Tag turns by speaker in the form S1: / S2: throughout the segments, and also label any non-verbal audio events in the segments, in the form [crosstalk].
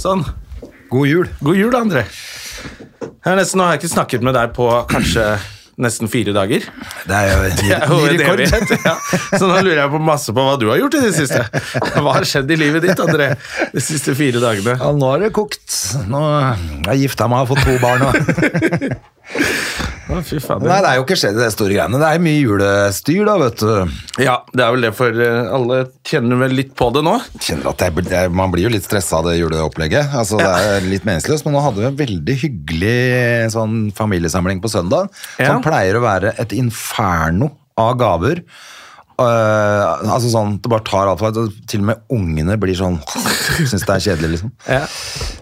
S1: Sånn.
S2: God jul.
S1: God jul, André. Jeg har nesten, nå har jeg ikke snakket med deg på kanskje nesten fire dager.
S2: Det [laughs] er jo en ny,
S1: Det er jo
S2: ny
S1: en
S2: rekord.
S1: evighet, ja. Så nå lurer jeg på masse på hva du har gjort i det siste. Hva har skjedd i livet ditt, André, de siste fire dagene?
S2: Ja, nå er det kokt. Nå jeg er gifta meg og har fått to barn. Og.
S1: Å,
S2: [laughs] Nei,
S1: fy fader.
S2: det er jo ikke skjedd i de store greiene. Det er mye julestyr, da, vet du.
S1: Ja, det er vel det, for eh, alle kjenner vel litt på det nå.
S2: Kjenner at jeg, jeg, Man blir jo litt stressa av det juleopplegget. Altså, Det er litt meningsløst, men nå hadde vi en veldig hyggelig sånn familiesamling på søndag.
S1: Ja.
S2: Som pleier å være et inferno av gaver. Øh, altså sånn, Det bare tar alt for deg. og Til og med ungene blir sånn Syns det er kjedelig, liksom.
S1: Ja.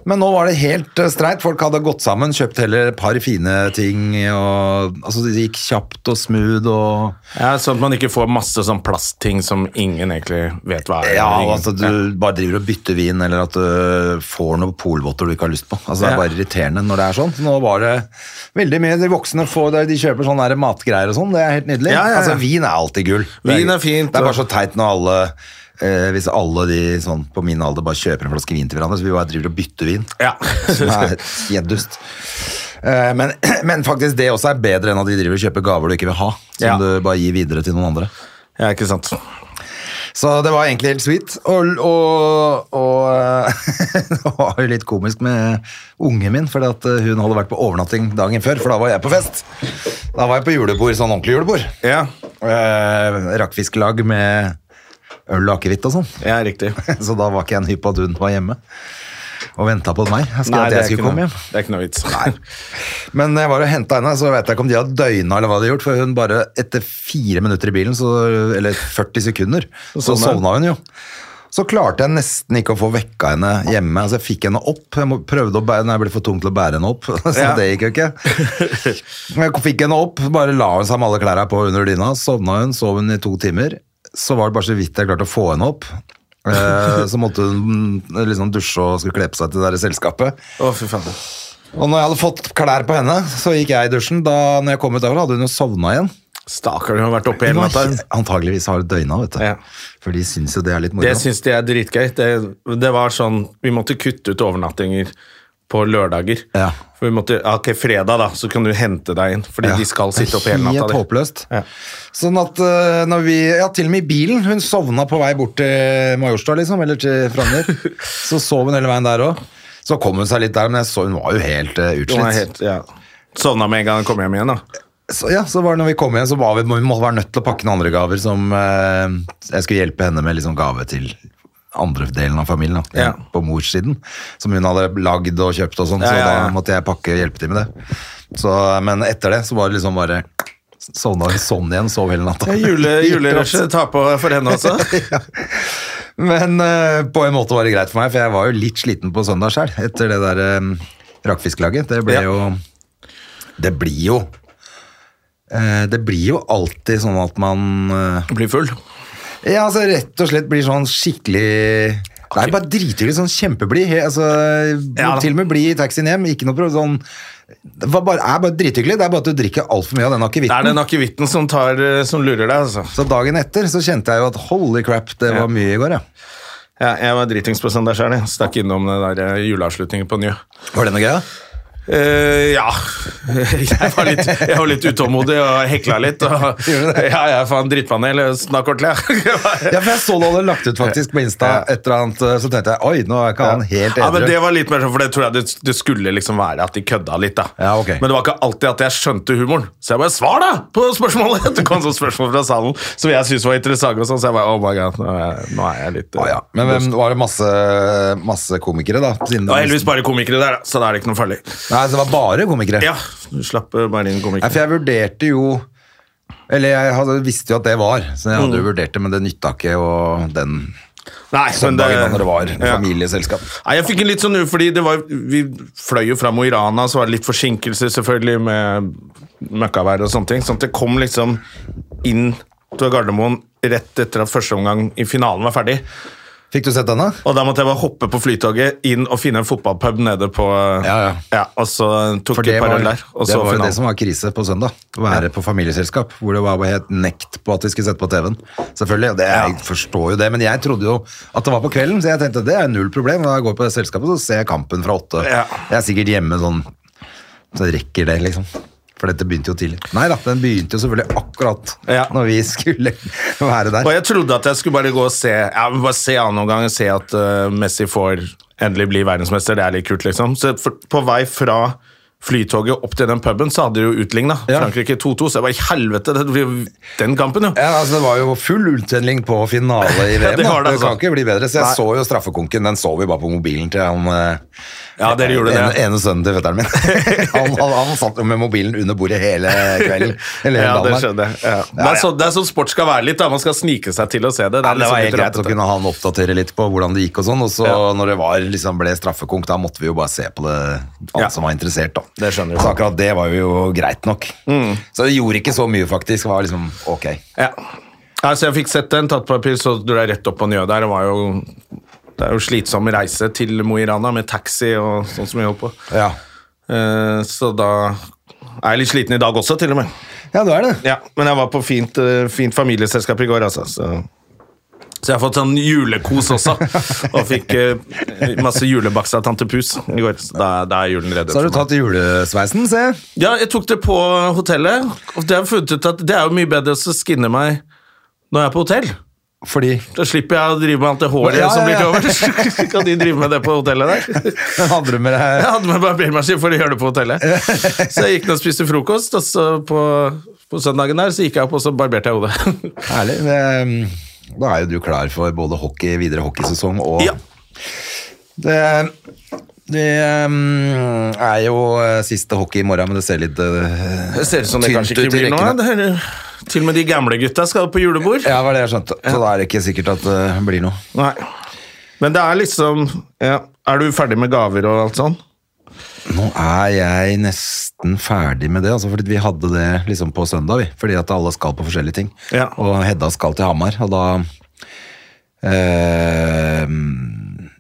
S2: Men nå var det helt eh, streit. Folk hadde gått sammen, kjøpt heller et par fine ting. Og, altså Det gikk kjapt og smooth og
S1: Ja, sånn at man ikke får masse sånn plastting som ingen egentlig vet hva er.
S2: Ja,
S1: eller ingen-
S2: altså du bare driver og bytter vin, eller at du får noen polvotter du ikke har lyst på. Altså Det
S1: Ja.
S2: er bare irriterende når det er sånn. Så Nå var det veldig mye. De voksne får, det, de kjøper sånne der matgreier og sånn, det er helt nydelig.
S1: Ja, ja, ja.
S2: Altså Vin er alltid gull. Det
S1: Vin er fint,
S2: Det er
S1: og-
S2: bare så teit når alle eh, Hvis alle de sånn på min alder bare kjøper en flaske vin til hverandre, så vi bare driver og bytter vin.
S1: Ja.
S2: [laughs] Som er gjeddust. Eh, Men, [clears throat] men faktisk det også er bedre enn at de driver og kjøper gaver du ikke vil ha. Som
S1: Ja.
S2: du bare gir videre til noen andre.
S1: ja, ikke sant.
S2: Så det var egentlig helt sweet. Og, og, og [laughs] det var jo litt komisk med ungen min, for hun hadde vært på overnatting dagen før, for da var jeg på fest. Da var jeg på julebord, sånn ordentlig julebord.
S1: Ja,
S2: Eh, Rakkfisklag med øl og akevitt og sånn. [laughs]
S1: ja riktig.
S2: Så da var ikke jeg hypp på at hun var hjemme og venta på meg. Jeg skulle,
S1: Nei,
S2: at
S1: det er
S2: jeg
S1: ikke
S2: skulle komme
S1: noe-
S2: hjem.
S1: Det er ikke noe vits.
S2: Men jeg var og henta henne, så vet jeg ikke om de hadde døgna eller hva de hadde gjort, for hun bare etter fire minutter i bilen, så, eller 40 sekunder, så
S1: sovna hun.
S2: sovna hun jo. Så klarte jeg nesten ikke å få vekka henne hjemme. Altså, jeg fikk henne opp. Jeg må- prøvde å bære, nei, jeg ble for tung til å bære henne opp, [laughs] så
S1: Ja.
S2: det gikk jo ikke. Men Jeg fikk henne opp, bare la hun seg med alle klærne på under dyna, sovna hun, sov hun i to timer. Så var det bare så vidt jeg klarte å få henne opp. Eh, Så måtte hun mm, liksom dusje og skulle kle på seg til det der selskapet.
S1: Å, fy fader.
S2: Og når jeg hadde fått klær på henne, så gikk jeg i dusjen. Da når jeg kom ut derfra, hadde hun jo sovna igjen.
S1: Stakkar, hun har vært oppe hele
S2: Hun var
S1: natta.
S2: he- Antageligvis har hun døgna, vet du.
S1: Ja.
S2: For de syns jo det er litt moro.
S1: Det syns de er dritgøy. Det, det var sånn Vi måtte kutte ut overnattinger på lørdager.
S2: Ja.
S1: For vi måtte, ja, ok, Fredag, da, så kan du hente deg inn. Fordi
S2: Ja.
S1: de skal
S2: Det er
S1: sitte opp hele natta.
S2: Helt
S1: de.
S2: håpløst.
S1: Ja.
S2: Sånn at øh, når vi Ja, til og med i bilen. Hun sovna på vei bort til Majorstua, liksom, eller til
S1: [laughs]
S2: Frogner. så sov hun hele veien der òg. Så kom hun seg litt der, men jeg så hun var jo helt øh,
S1: Hun er
S2: utslitt.
S1: helt, ja. Sovna med en gang hun kom hjem igjen. da
S2: Så, ja, så var det når vi kom igjen, så var vi, vi måtte være nødt til å pakke noen andre gaver som eh, jeg skulle hjelpe henne med liksom gave til andre delen av familien, da,
S1: Ja.
S2: på morssiden, som hun hadde lagd og kjøpt og sånn,
S1: Ja, ja,
S2: så
S1: ja.
S2: da måtte jeg pakke og hjelpe til med det. Så, eh, men etter det så var det liksom bare sovna hun sånn igjen, sov hele natta.
S1: Jule,
S2: [laughs]
S1: [laughs] Julerushet tar på for henne også.
S2: Men eh, på en måte var det greit for meg, for jeg var jo litt sliten på søndag selv, etter det der eh, rakfisklaget. Det ble
S1: Ja.
S2: jo Det blir jo eh, Det blir jo alltid sånn at man eh,
S1: Blir full.
S2: Ja, altså rett og slett blir sånn skikkelig Nei, bare drithyggelig. Sånn kjempeblid. he- Altså,
S1: Ja da.
S2: til og med blid i taxien hjem. Ikke noe problem. Sånn, det var bare, er bare drithyggelig. Det er bare at du drikker altfor mye av den
S1: Det er
S2: akevitten.
S1: den akevitten som, tar, eh, som lurer deg, altså.
S2: Så dagen etter så kjente jeg jo at holy crap, det
S1: Ja.
S2: var mye i går, ja.
S1: Ja, jeg var dritings på søndag sjøl. Stakk innom den der eh, juleavslutningen på Njø.
S2: Var det noe gøy, da?
S1: Eh, ja. Jeg var litt, jeg var litt utålmodig og hekla litt. Og,
S2: [laughs] Gjorde du det?
S1: ja, jeg faen drittpanel. Snakk ordentlig. ja. [laughs]
S2: Ja, for jeg så du hadde lagt ut faktisk på Insta
S1: Ja.
S2: et eller annet, eh, så tenkte jeg, oi, nå er ikke han helt
S1: Ja, men
S2: edru.
S1: det var litt mer sånn, for det tror jeg det, det skulle liksom være at de kødda litt, da.
S2: Ja, ok.
S1: Men det var ikke alltid at jeg skjønte humoren. Så jeg bare svar, da! På spørsmålet! [laughs] Det kom sånn spørsmål fra salen som jeg syntes var interessante, og sånn, så jeg bare oh my god, nå er jeg, nå er jeg litt eh."
S2: Å, ja. Men hvem, var det masse, masse komikere da? Siden
S1: Det var heldigvis bare komikere der, da, så da er det ikke noe farlig.
S2: Nei, så det var bare komikere.
S1: Ja, du slapp eh, bare inn
S2: Nei, for
S1: komikere.
S2: jeg vurderte jo,
S1: Mm.
S2: eller jeg hadde, visste jo at det var, så jeg hadde jo vurdert det, men det nytta ikke, og den...
S1: Nei, men det,
S2: Søndagen når det var
S1: Ja.
S2: familieselskap.
S1: Nei, jeg fikk en litt sånn u, fordi det var, vi fløy jo fra Mo i Rana, så var det litt forsinkelser selvfølgelig med møkkavær og sånne ting. Sånn at det kom liksom inn til Gardermoen rett etter at første omgang i finalen var ferdig.
S2: Fikk du sett denne?
S1: Og da måtte jeg bare hoppe på flytoget inn og finne en fotballpub nede på
S2: Ja, ja.
S1: Og så tok
S2: For det
S1: vi et par
S2: var,
S1: øl der, og
S2: det,
S1: så
S2: var jo det som
S1: finalen.
S2: var krise på søndag. Å være på familieselskap, hvor det var bare helt nekt på at vi skulle sette på TV-en. Selvfølgelig, og det, Jeg forstår jo det, men jeg trodde jo at det var på kvelden, så jeg tenkte det er null problem. Når jeg går på det selskapet, så ser jeg kampen fra åtte.
S1: Ja.
S2: Jeg er sikkert hjemme sånn Så rekker det, liksom. For dette begynte jo tidlig. Nei da, den begynte jo selvfølgelig akkurat
S1: Ja.
S2: når vi skulle være der.
S1: Og jeg trodde at jeg skulle bare gå og se ja, men bare se annen omgang og se at eh, Messi får endelig bli verdensmester. Det er litt kult, liksom. Så for, på vei fra flytoget opp til den puben, så hadde de jo utligna.
S2: Ja.
S1: Frankrike 2-2, så jeg bare helvete, det blir jo den kampen, jo.
S2: Ja, altså Det var jo full uttending på finale
S1: [laughs]
S2: i VM.
S1: det var
S2: da.
S1: det,
S2: det kan
S1: altså.
S2: ikke bli bedre. Så jeg
S1: Nei.
S2: så jo straffekonken. Den så vi bare på mobilen til han eh,
S1: Ja, dere gjorde
S2: den
S1: det.
S2: ene sønnen til fetteren min.
S1: [laughs]
S2: han, han, han satt jo med mobilen under bordet hele kvelden. Eller hele
S1: Ja, det
S2: dagen.
S1: skjønner jeg. Ja. Det, er sånn, det er sånn sport skal være litt. da Man skal snike seg til å se det. Det, er
S2: Ja, det
S1: liksom
S2: var
S1: litt
S2: helt greit å
S1: rart,
S2: kunne han oppdatere litt på hvordan det gikk og sånn. Og så
S1: Ja.
S2: når det var, liksom ble straffekonk, da måtte vi jo bare se på det, alle
S1: Ja.
S2: som var interessert, da.
S1: Det skjønner jeg. Mm.
S2: Så akkurat det var jo greit nok. Så det gjorde ikke så mye, faktisk. Det var liksom ok.
S1: Ja. Altså, jeg fikk sett den, tatt papir, så du er rett opp og ned der. Det var jo... Det er jo slitsom reise til Mo i Rana med taxi og sånn som vi holdt på.
S2: Ja.
S1: Eh, Så da er jeg litt sliten i dag også, til og med.
S2: ja, du er det.
S1: Ja, men jeg var på fint, eh, fint familieselskap i går, altså. Så. så jeg har fått sånn julekos også. Og fikk eh, masse julebakst av tante Pus i går. Så da, da er julen reddet.
S2: Så har du
S1: for meg.
S2: tatt julesveisen, se.
S1: Ja, jeg tok det på hotellet. Og det har jeg funnet ut at det er jo mye bedre å skinne meg når jeg er på hotell.
S2: Fordi
S1: Da slipper jeg å drive med alt det håret
S2: Ja,
S1: som blir
S2: ja, ja.
S1: til over. Så [laughs] kan de drive med det på hotellet der.
S2: Hadde
S1: [laughs]
S2: du med deg
S1: Jeg hadde med barbermaskin for å gjøre det på [laughs] hotellet. Så jeg gikk ned og spiste frokost, og så på, på søndagen der så gikk jeg opp og så barberte jeg hodet.
S2: Herlig. Det, da er jo du klar for både hockey, videre hockeysesong og
S1: Ja.
S2: Det, det um, er jo eh, siste hockey i morgen, men det ser litt eh,
S1: Det ser ut som det
S2: tynt
S1: kanskje
S2: ut i
S1: ikke blir noe.
S2: rekkene.
S1: Det er, til og med de gamle gutta skal på julebord.
S2: Ja, det var det jeg skjønte. Så da er det ikke sikkert at det blir noe.
S1: Nei. Men det er liksom ja. Er du ferdig med gaver og alt sånn?
S2: Nå er jeg nesten ferdig med det, altså fordi vi hadde det liksom på søndag, vi. Fordi at alle skal på forskjellige ting.
S1: Ja.
S2: Og Hedda skal til Hamar, og da eh,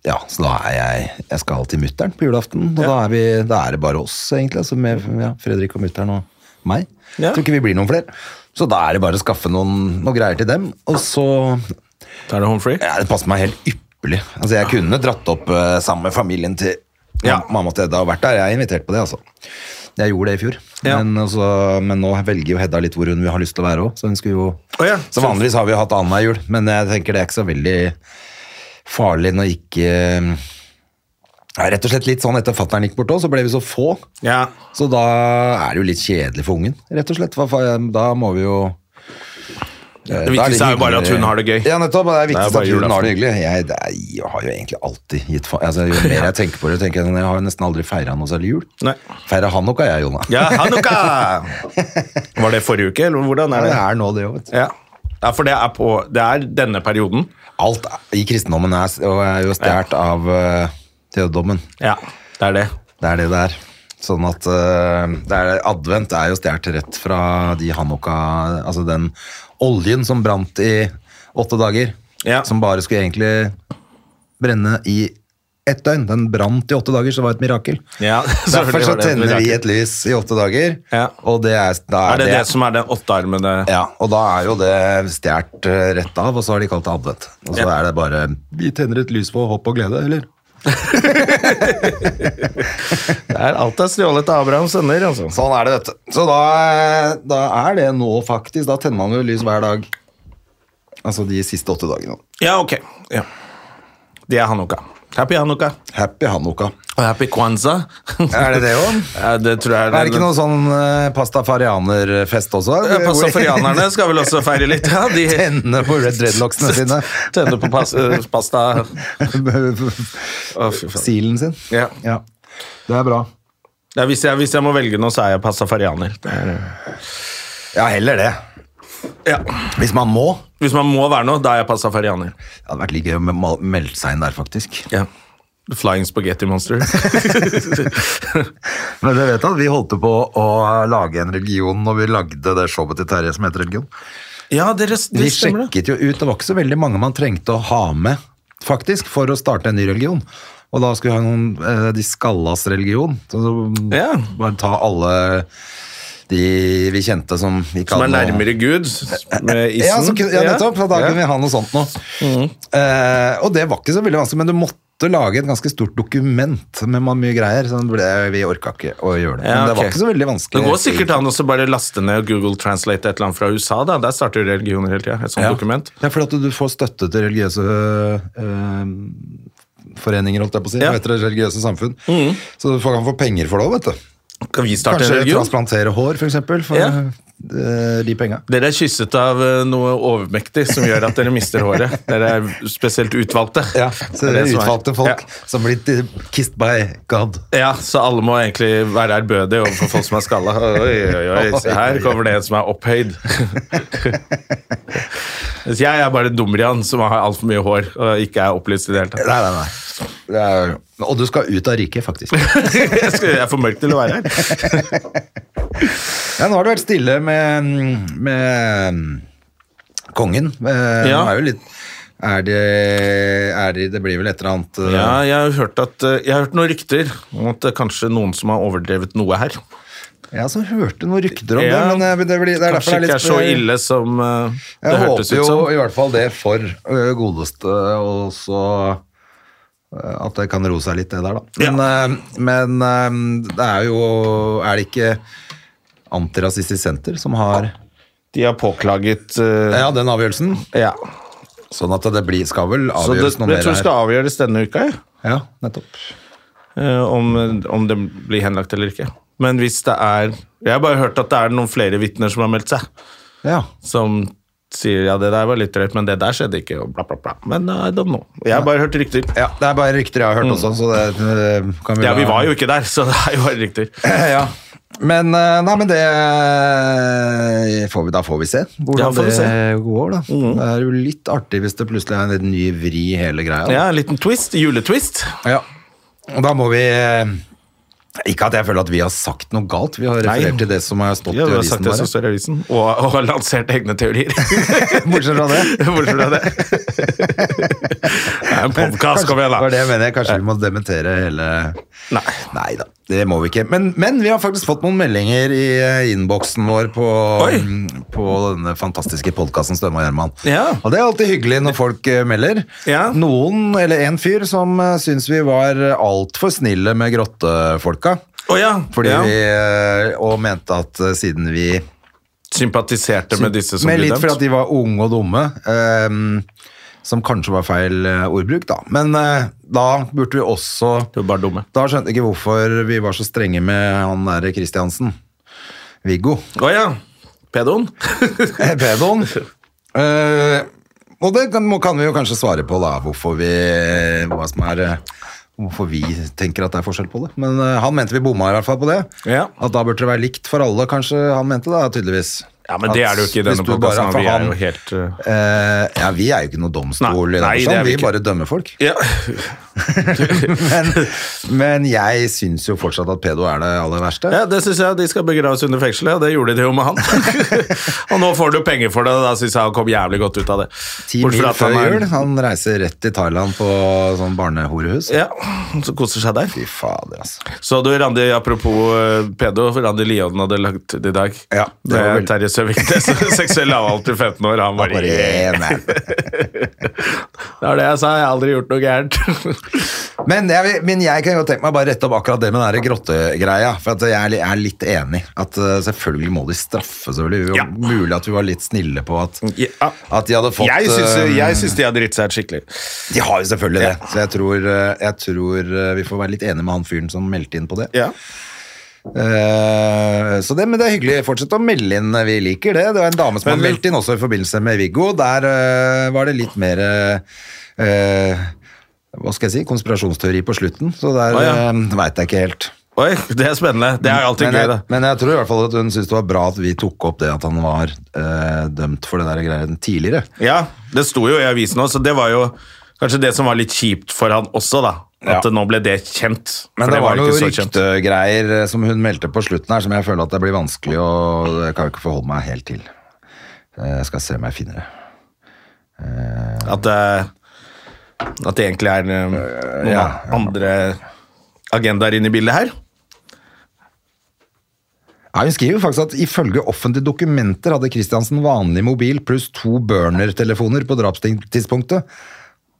S2: Ja, så da er jeg Jeg skal til mutter'n på julaften, og da, er vi, da er det bare oss, egentlig. Altså med ja, Fredrik og mutter'n og meg.
S1: Ja.
S2: Tror ikke vi blir noen flere. Så da er det bare å skaffe noen, noen greier til dem, og så
S1: Da er det home free.
S2: ja, det passer meg helt ypperlig. Altså, jeg kunne dratt opp eh, sammen med familien til
S1: Ja.
S2: mamma til Hedda og vært der. Jeg er invitert på det, altså. Jeg gjorde det i fjor,
S1: Ja.
S2: men, altså, men nå velger jo Hedda litt hvor hun vil ha lyst til å være òg. Så hun skulle jo
S1: Å ja.
S2: Så vanligvis har vi jo hatt annenhver jul, men jeg tenker det er ikke så veldig farlig når ikke ja, Rett og slett litt sånn etter fatter'n gikk bort òg, så ble vi så få.
S1: Ja.
S2: Så da er det jo litt kjedelig for ungen, rett og slett. Hva fa- Da må vi jo Eh,
S1: Det viktigste er jo bare at hun har det gøy.
S2: Ja, nettopp. Det er viktigst
S1: bare
S2: at hun har det
S1: julaften.
S2: hyggelig. Jeg, det er, jeg har jo egentlig alltid gitt faen. Altså, jo mer jeg tenker på det, tenker jeg sånn, jeg har jo nesten aldri feira noe særlig jul.
S1: Nei.
S2: Feira hanukka, jeg, Jonna.
S1: Ja, Hanukka! [laughs] Var det forrige uke, eller
S2: [laughs]
S1: hvordan
S2: Ja,
S1: er
S2: det
S1: det?
S2: er nå det òg, vet du.
S1: Ja, ja for det er, på, det er denne perioden.
S2: Alt i kristendommen er, og er jo stjålet av uh, teodommen.
S1: Ja, det er det.
S2: Det er det det er. Sånn at eh, det er, Advent er jo stjålet rett fra de hanukka Altså den oljen som brant i åtte dager.
S1: Ja.
S2: Som bare skulle egentlig brenne i ett døgn. Den brant i åtte dager, så det var et mirakel.
S1: Ja, [laughs]
S2: Derfor
S1: selvfølgelig
S2: så
S1: var det et
S2: tenner vi
S1: mirakel.
S2: et lys i åtte dager,
S1: Ja.
S2: og det er, da
S1: Er det det som er den åttearmede
S2: ja, og da er jo det stjålet eh, rett av, og så har de kalt det advent. Og så
S1: Ja.
S2: er det bare Vi tenner et lys for håp og glede, eller?
S1: Det er alt er stjålet av Abrahams sønner, altså.
S2: Sånn er det, vet du. Så da, da er det nå, faktisk. Da tenner man jo lys hver dag. Altså de siste åtte dagene.
S1: Ja, ok. Ja. Det er hanukka. Happy hanukka.
S2: Happy hanukka.
S1: Og happy kwanza.
S2: Er det det òg?
S1: ja, det tror jeg
S2: Er det ikke noe sånn eh, pasta farianer-fest også?
S1: Ja,
S2: [laughs]
S1: Pastafarianerne skal vel også feire litt, ja. De
S2: Tenne på red dreadlocksene [laughs] sine.
S1: tenner på pas [laughs] eh, pasta Å, fy faen.
S2: Silen sin.
S1: Ja.
S2: Ja. Det er bra.
S1: Ja, hvis, jeg, hvis jeg må velge noe, så er jeg pastafarianer. Det er-
S2: Ja, heller det.
S1: Ja.
S2: Hvis man må.
S1: Hvis man må være noe, da er jeg pastafarianer.
S2: Det hadde vært like gøy å mel- melde seg inn der, faktisk.
S1: Ja. The Flying Spaghetti [laughs] Monster.
S2: Men dere vet at vi holdt på å lage en religion når vi lagde det showet til Terje som heter Religion.
S1: ja, dere,
S2: Vi
S1: det stemmer det.
S2: sjekket jo ut, det var ikke så veldig mange man trengte å ha med, faktisk, for å starte en ny religion. Og da skulle vi ha noen, eh, de skallas religion. Så, så
S1: Ja.
S2: Bare ta alle de vi kjente som ikke
S1: Som er
S2: hadde noe-
S1: nærmere Gud, s- med isen.
S2: Ja, så, kunne- ja, nettopp. så Da
S1: Ja. Mm.
S2: kunne vi ha noe sånt nå. Eh, og det var ikke så veldig vanskelig, men du måtte lage et ganske stort dokument med ma- mye greier. Så det ble, vi orka ikke å gjøre det.
S1: Ja,
S2: Men det var
S1: ok.
S2: ikke så veldig vanskelig.
S1: Det går sikkert an å så bare laste ned og Google Translate et eller annet fra USA. da. Der starter jo religioner hele tida. Et sånt
S2: Ja.
S1: dokument.
S2: Ja, for at du får støtte til religiøse eh, foreninger, holdt jeg på å si.
S1: Ja. Mm.
S2: Hva heter det? Religiøse samfunn. Så du får- kan få penger for det òg, vet du.
S1: Kan vi starte en
S2: Kanskje
S1: religion?
S2: transplantere hår, for eksempel, for
S1: Ja.
S2: eh, de penga.
S1: Dere er kysset av eh, noe overmektig som gjør at dere mister håret. Dere er spesielt utvalgte.
S2: Ja, så
S1: Det er det som er.
S2: utvalgte folk som blir eh, kissed by God.
S1: Ja. ja, så alle må egentlig være ærbødige overfor folk som er skalla. Oi, oi, oi, se her kommer det en som er
S2: [laughs]
S1: opphøyd. Mens jeg er bare dumrian som har altfor mye hår og ikke er opplyst i det hele tatt.
S2: Nei, nei, nei. Det er, og du skal ut av riket, faktisk.
S1: [laughs] Jeg skal- jeg er for mørk til å være her.
S2: Ja, nå har det vært stille med, med kongen. Eh,
S1: Ja.
S2: Nå er jo litt er det, er det, det blir vel et eller annet eh,
S1: Ja, jeg har hørt, at, eh, jeg har hørt noen rykter om at det er kanskje noen som har overdrevet noe her.
S2: Ja, så hørte noen rykter om
S1: Ja,
S2: det, men eh, det, blir, det er derfor
S1: Kanskje
S2: det er
S1: ikke er
S2: litt
S1: så ille som eh, det
S2: Jeg håper
S1: hørtes ut
S2: jo
S1: som.
S2: i hvert fall det for eh, godeste, og så eh, at det kan roe seg litt, det der, da. Men, eh, men eh, det er jo Er det ikke Antirasistisk Senter som har
S1: De har påklaget eh,
S2: Ja, den avgjørelsen?
S1: Ja.
S2: Sånn at det blir, skal vel
S1: Så det,
S2: avgjøres noe mer
S1: jeg tror det
S2: her.
S1: skal avgjøres denne uka, jeg.
S2: Ja, nettopp.
S1: Eh, om, om det blir henlagt eller ikke. Men hvis det er Jeg har bare hørt at det er noen flere vitner som har meldt seg.
S2: Ja.
S1: Som sier ja, det der var litt drøyt, men det der skjedde ikke, og bla, bla, bla. Men eh, I don't know. Jeg har bare hørt rykter.
S2: ja, det er bare rykter jeg har hørt også, så det, det kan vi
S1: Mm. Ja,
S2: la-
S1: vi var jo ikke der, så det er jo
S2: [laughs]
S1: bare rykter.
S2: ja. Men, eh, nei, men det eh, får vi, Da får vi Mm. se hvordan
S1: Ja, får vi
S2: det
S1: se.
S2: går, da. Det er jo litt artig hvis det plutselig er en litt ny vri i hele greia. da.
S1: Ja, en liten twist. Juletwist.
S2: Ja. Og da må vi eh, Ikke at jeg føler at vi har sagt noe galt, vi har
S1: Nei.
S2: referert til det som har stått
S1: Ja,
S2: i
S1: du har
S2: avisen
S1: sagt det som
S2: vår.
S1: står i avisen, og, og har lansert egne
S2: [laughs]
S1: teorier.
S2: Bortsett fra det.
S1: [laughs]
S2: [laughs]
S1: Bortsett fra det. Det er en podkast, kom igjen,
S2: Det var det
S1: da.
S2: jeg mener. Kanskje vi må dementere hele
S1: Nei.
S2: da, det må vi ikke. Men, men vi har faktisk fått noen meldinger i eh, innboksen vår på,
S1: Oi.
S2: mm, på denne fantastiske podkasten Støme og Gjerman.
S1: Ja.
S2: Og det er alltid hyggelig når folk eh, melder.
S1: Ja.
S2: Noen, eller en fyr, som uh, syns vi var altfor snille med grottefolka.
S1: Å ja.
S2: Fordi
S1: ja.
S2: vi, eh, og mente at eh, siden vi
S1: Sympatiserte med disse som
S2: men
S1: ble
S2: litt fordi
S1: dømt.
S2: at de var unge og dumme, ehm, som kanskje var feil eh, ordbruk, da. Men eh, da burde vi også
S1: De var bare dumme.
S2: Da skjønte jeg ikke hvorfor vi var så strenge med han derre Kristiansen. Viggo. [laughs]
S1: Å ja. Pedoen?
S2: Eh, Pedoen. Eh, og det kan, må, kan vi jo kanskje svare på, da, hvorfor vi hva som er eh, Hvorfor vi tenker at det er forskjell på det. Men eh, han mente vi bomma i hvert fall på det.
S1: Ja.
S2: At da burde det være likt for alle, kanskje han mente da, tydeligvis.
S1: Ja, men det
S2: At
S1: er det jo ikke i
S2: hvis
S1: denne
S2: du bare-
S1: podcasten,
S2: for
S1: vi er
S2: han-
S1: jo helt, uh,
S2: Eh, ja, vi er jo ikke noe domstol,
S1: Nei,
S2: i den
S1: nei, det er
S2: forstand.
S1: vi
S2: vi
S1: ikke.
S2: bare dømmer folk.
S1: Ja.
S2: Men, men jeg syns jo fortsatt at pedo er det aller verste.
S1: ja, det syns jeg de skal begraves under fengselet, og det gjorde de jo med han. [laughs] og nå får du penger for det, og da syns jeg han kom jævlig godt ut av det.
S2: Ti
S1: Bortsett
S2: mil
S1: fra at han
S2: før
S1: er-
S2: jul, han reiser rett til Thailand på sånn barnehorehus.
S1: Ja, så koser seg der.
S2: Fy fader, altså.
S1: Så du, Randi, apropos eh, pedo, Randi Lian hadde lagt det i dag.
S2: Ja, det
S1: det
S2: var
S1: er
S2: vel-
S1: Terje Søviknes, [laughs] seksuell lavalder 15 år. Han
S2: Bare
S1: bare
S2: en her.
S1: [laughs] Det var det jeg sa, jeg har aldri gjort noe gærent.
S2: Men jeg, vil- men jeg kan jo tenke meg bare rette opp akkurat det med den der grottegreia. For at jeg er li- jeg er litt enig. At eh, selvfølgelig må de straffe, selvfølgelig. Det
S1: Ja.
S2: er jo Mulig at vi var litt snille på at,
S1: Ja.
S2: at de hadde [laughs] fått
S1: jeg, syns,
S2: eh,
S1: jeg syns de har dritt seg ut skikkelig.
S2: De har jo selvfølgelig det. Så jeg tror, eh, jeg tror eh, vi får være litt enige med han fyren som meldte inn på det.
S1: Ja.
S2: Eh, så det, men det er hyggelig. Fortsett å melde inn. Vi liker det. Det var en dame som har
S1: Men vi-
S2: meldt inn også i forbindelse med Viggo. Der eh, var det litt mer eh, eh, Hva skal jeg si? Konspirasjonsteori på slutten. Så der
S1: Å, ja.
S2: eh, vet jeg ikke helt.
S1: Oi, det er spennende. Det er jo alltid
S2: Mm. men,
S1: gøy,
S2: jeg,
S1: det.
S2: men jeg tror i hvert fall at hun syntes det var bra at vi tok opp det at han var eh, dømt for det der greiene tidligere.
S1: Ja, det sto jo i avisen òg, så det var jo kanskje det som var litt kjipt for han også, da. At
S2: Ja.
S1: nå ble det kjent.
S2: Men
S1: for
S2: det, var,
S1: jo
S2: noen
S1: ikke så kjent.
S2: ryktegreier eh, som hun meldte på slutten her, som jeg føler at det blir vanskelig å Jeg kan jo ikke forholde meg helt til. Eh, Jeg skal se om jeg finner det.
S1: At, eh, at det egentlig er eh, noen
S2: ja.
S1: andre agendaer inne i bildet her.
S2: Ja, hun skriver faktisk at ifølge offentlige dokumenter hadde Kristiansen vanlig mobil pluss to burner-telefoner på drapstidspunktet,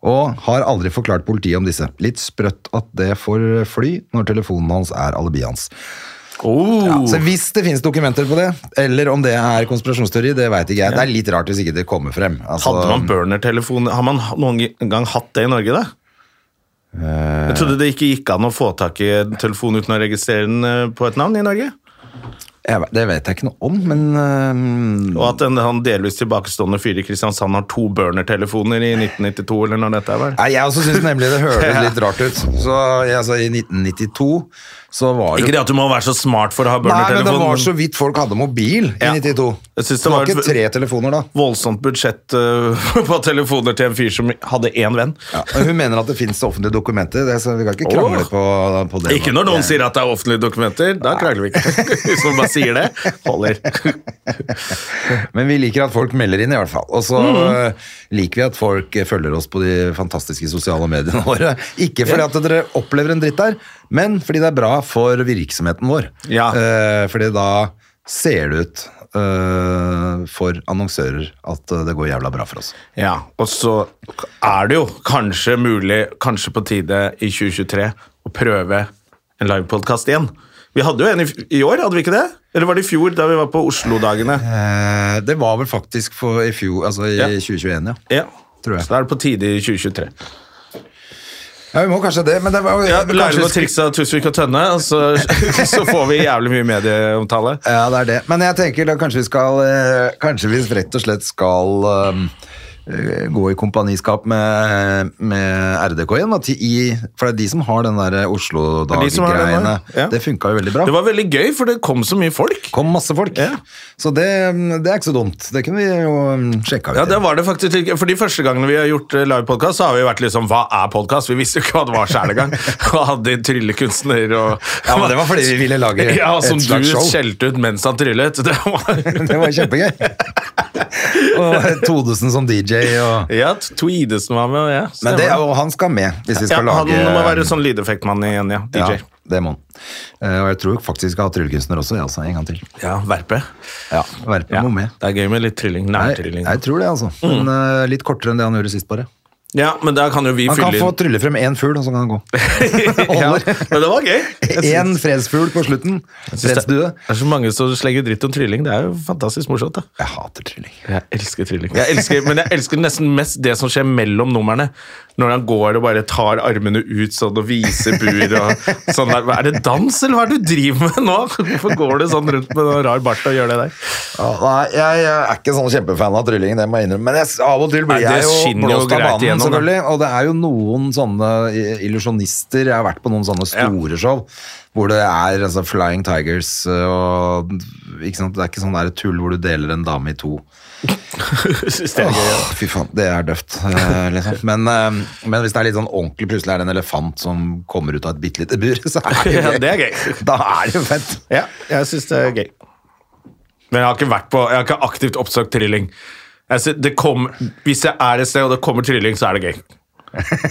S2: og har aldri forklart politiet om disse. Litt sprøtt at det får fly når telefonen hans er alibiet hans.
S1: Oh.
S2: Ja, så hvis det finnes dokumenter på det, eller om det er konspirasjonsteori, det veit ikke jeg. Det er litt rart hvis ikke det kommer frem. Altså,
S1: Hadde man burner-telefon? Har man noen gang hatt det i Norge, da? Jeg trodde det ikke gikk an å få tak i en telefon uten å registrere den eh, på et navn i Norge.
S2: jeg vet- det vet jeg ikke noe om, men eh, øhm,
S1: Og at en han delvis tilbakestående fyr i Kristiansand har to burner-telefoner i 1992, eller når dette er vel?
S2: Nei, jeg også syns nemlig det høres
S1: [laughs] Ja.
S2: litt rart ut. Så jeg- altså, I 1992 så var det
S1: Ikke det at du må være så smart for å ha
S2: Nei, men det var så
S1: burner-telefon.
S2: vidt folk hadde mobil i
S1: Ja.
S2: 92.
S1: Jeg synes det
S2: det var
S1: var et-
S2: ikke tre telefoner da.
S1: Voldsomt budsjett eh, [laughs] på telefoner til en fyr som hadde én venn.
S2: Men Hun mener at det finnes offentlige dokumenter, det, så vi kan ikke krangle
S1: Åh.
S2: på, på det.
S1: Ikke når noen sier at det er offentlige dokumenter. Da krangler vi ikke. [laughs] Hvis man bare sier det, [laughs] holder.
S2: [laughs] Men vi liker at folk melder inn, i hvert fall. Og så
S1: Mhm.
S2: eh, liker vi at folk eh, følger oss på de fantastiske sosiale mediene [laughs] våre. Ikke fordi at dere opplever en dritt der, men fordi det er bra for virksomheten vår.
S1: Ja.
S2: Eh, fordi da ser det ut eh, for annonsører at eh, det går jævla bra for oss.
S1: Ja, og så er det jo kanskje mulig, kanskje på tide i 2023, å prøve en livepodkast igjen. Vi hadde jo en i, f- i år, hadde vi ikke det? Eller var det i fjor, da vi var på Oslo-dagene?
S2: Eh, det var vel faktisk for i fjor, altså i
S1: Ja.
S2: 2021, ja.
S1: Ja,
S2: Tror jeg.
S1: Så da er det på tide i 2023.
S2: Ja, vi må kanskje det, men det var
S1: Ja,
S2: kanskje-
S1: Lærer å trikse av Tusvik og Tønne, og så, [laughs] så får vi jævlig mye medieomtale.
S2: Ja, det er det. Men jeg tenker da kanskje vi skal eh, Kanskje vi rett og slett skal ehm, eh, gå i kompaniskap med, med RDK igjen. Da, til i, for det er de som har den der
S1: Det er de som har den,
S2: Oslo-dag-greiene.
S1: ja.
S2: Det funka jo veldig bra.
S1: Det var veldig gøy, for det kom så mye folk.
S2: kom masse folk.
S1: Ja.
S2: Så det, ehm, det er ikke så dumt. Det kunne vi jo ehm, sjekka ut.
S1: Ja, det var det faktisk ikke. For de første gangene vi har gjort eh, livepodkast, så har vi vært liksom Hva er podkast? Vi visste jo ikke hva det var sjæl
S2: [laughs]
S1: engang. Og hadde tryllekunstner og
S2: Ja, men det var fordi vi ville lage
S1: [laughs] Ja,
S2: et
S1: som
S2: slags
S1: du
S2: show.
S1: skjelte ut mens han tryllet. Det
S2: [laughs]
S1: var
S2: [laughs] det var
S1: [laughs]
S2: kjempegøy. og Todesen som DJ og
S1: Ja, Tweedesen var med, og ja.
S2: Men det,
S1: stemmer.
S2: og han skal med, hvis vi
S1: ja,
S2: skal lage
S1: Han må være sånn lydeffektmann igjen, ja. DJ.
S2: Ja, det må han. Eh, og jeg tror faktisk jeg skal ha tryllekunstner også, jeg, altså, en gang til.
S1: Ja, Verpe.
S2: Ja, Verpe
S1: Ja. Mm.
S2: må med.
S1: Det er gøy med litt trylling.
S2: Nei,
S1: Nærtrylling.
S2: jeg tror det, altså. Men eh, litt kortere enn det han gjorde sist, bare.
S1: Ja, men da kan jo vi
S2: Han kan
S1: fylle
S2: få
S1: [laughs] inn.
S2: trylle frem én fugl, og så kan
S1: [laughs]
S2: han gå.
S1: ja,
S2: Holder.
S1: men det var
S2: [laughs]
S1: gøy. Jeg synes-
S2: Én fredsfugl på slutten.
S1: synes det-
S2: Fredsdue.
S1: Det er så mange som slenger dritt om trylling. Det er jo fantastisk morsomt, da.
S2: Jeg hater trylling.
S1: Jeg elsker trilling. Jeg elsker, men jeg elsker nesten mest det som skjer mellom numrene. Når han går og bare tar armene ut sånn og viser bur og sånn der. Er det dans, eller hva er det du driver med nå? Hvorfor går du sånn rundt med noen rar bart og gjør det der?
S2: Ja, nei, jeg, jeg er ikke sånn kjempefan av trylling, det må jeg innrømme. Men jeg, av og til
S1: Nei,
S2: blir
S1: det
S2: jeg jo
S1: skinner
S2: blåst
S1: jo
S2: av
S1: greit
S2: banen,
S1: igjennom, da.
S2: selvfølgelig. Og det er jo noen sånne i- illusjonister Jeg har vært på noen sånne
S1: Ja.
S2: store show hvor det er altså, Flying Tigers øh, og ikke sant? Det er ikke sånn der tull hvor du deler en dame i to.
S1: Synes det er gøy, ja.
S2: Åh, fy faen, det er døvt. eh, liksom. men, eh, men hvis det er litt sånn ordentlig, plutselig er det en elefant som kommer ut av et bitte lite bur, [laughs] så er det jo
S1: Ja,
S2: gøy.
S1: det er gøy.
S2: Da er det jo fett.
S1: Ja, jeg syns det er gøy. Men jeg har ikke vært på, jeg har ikke aktivt oppsøkt trilling. Jeg sy- det kom, hvis jeg er et sted og det kommer trilling, så er det gøy.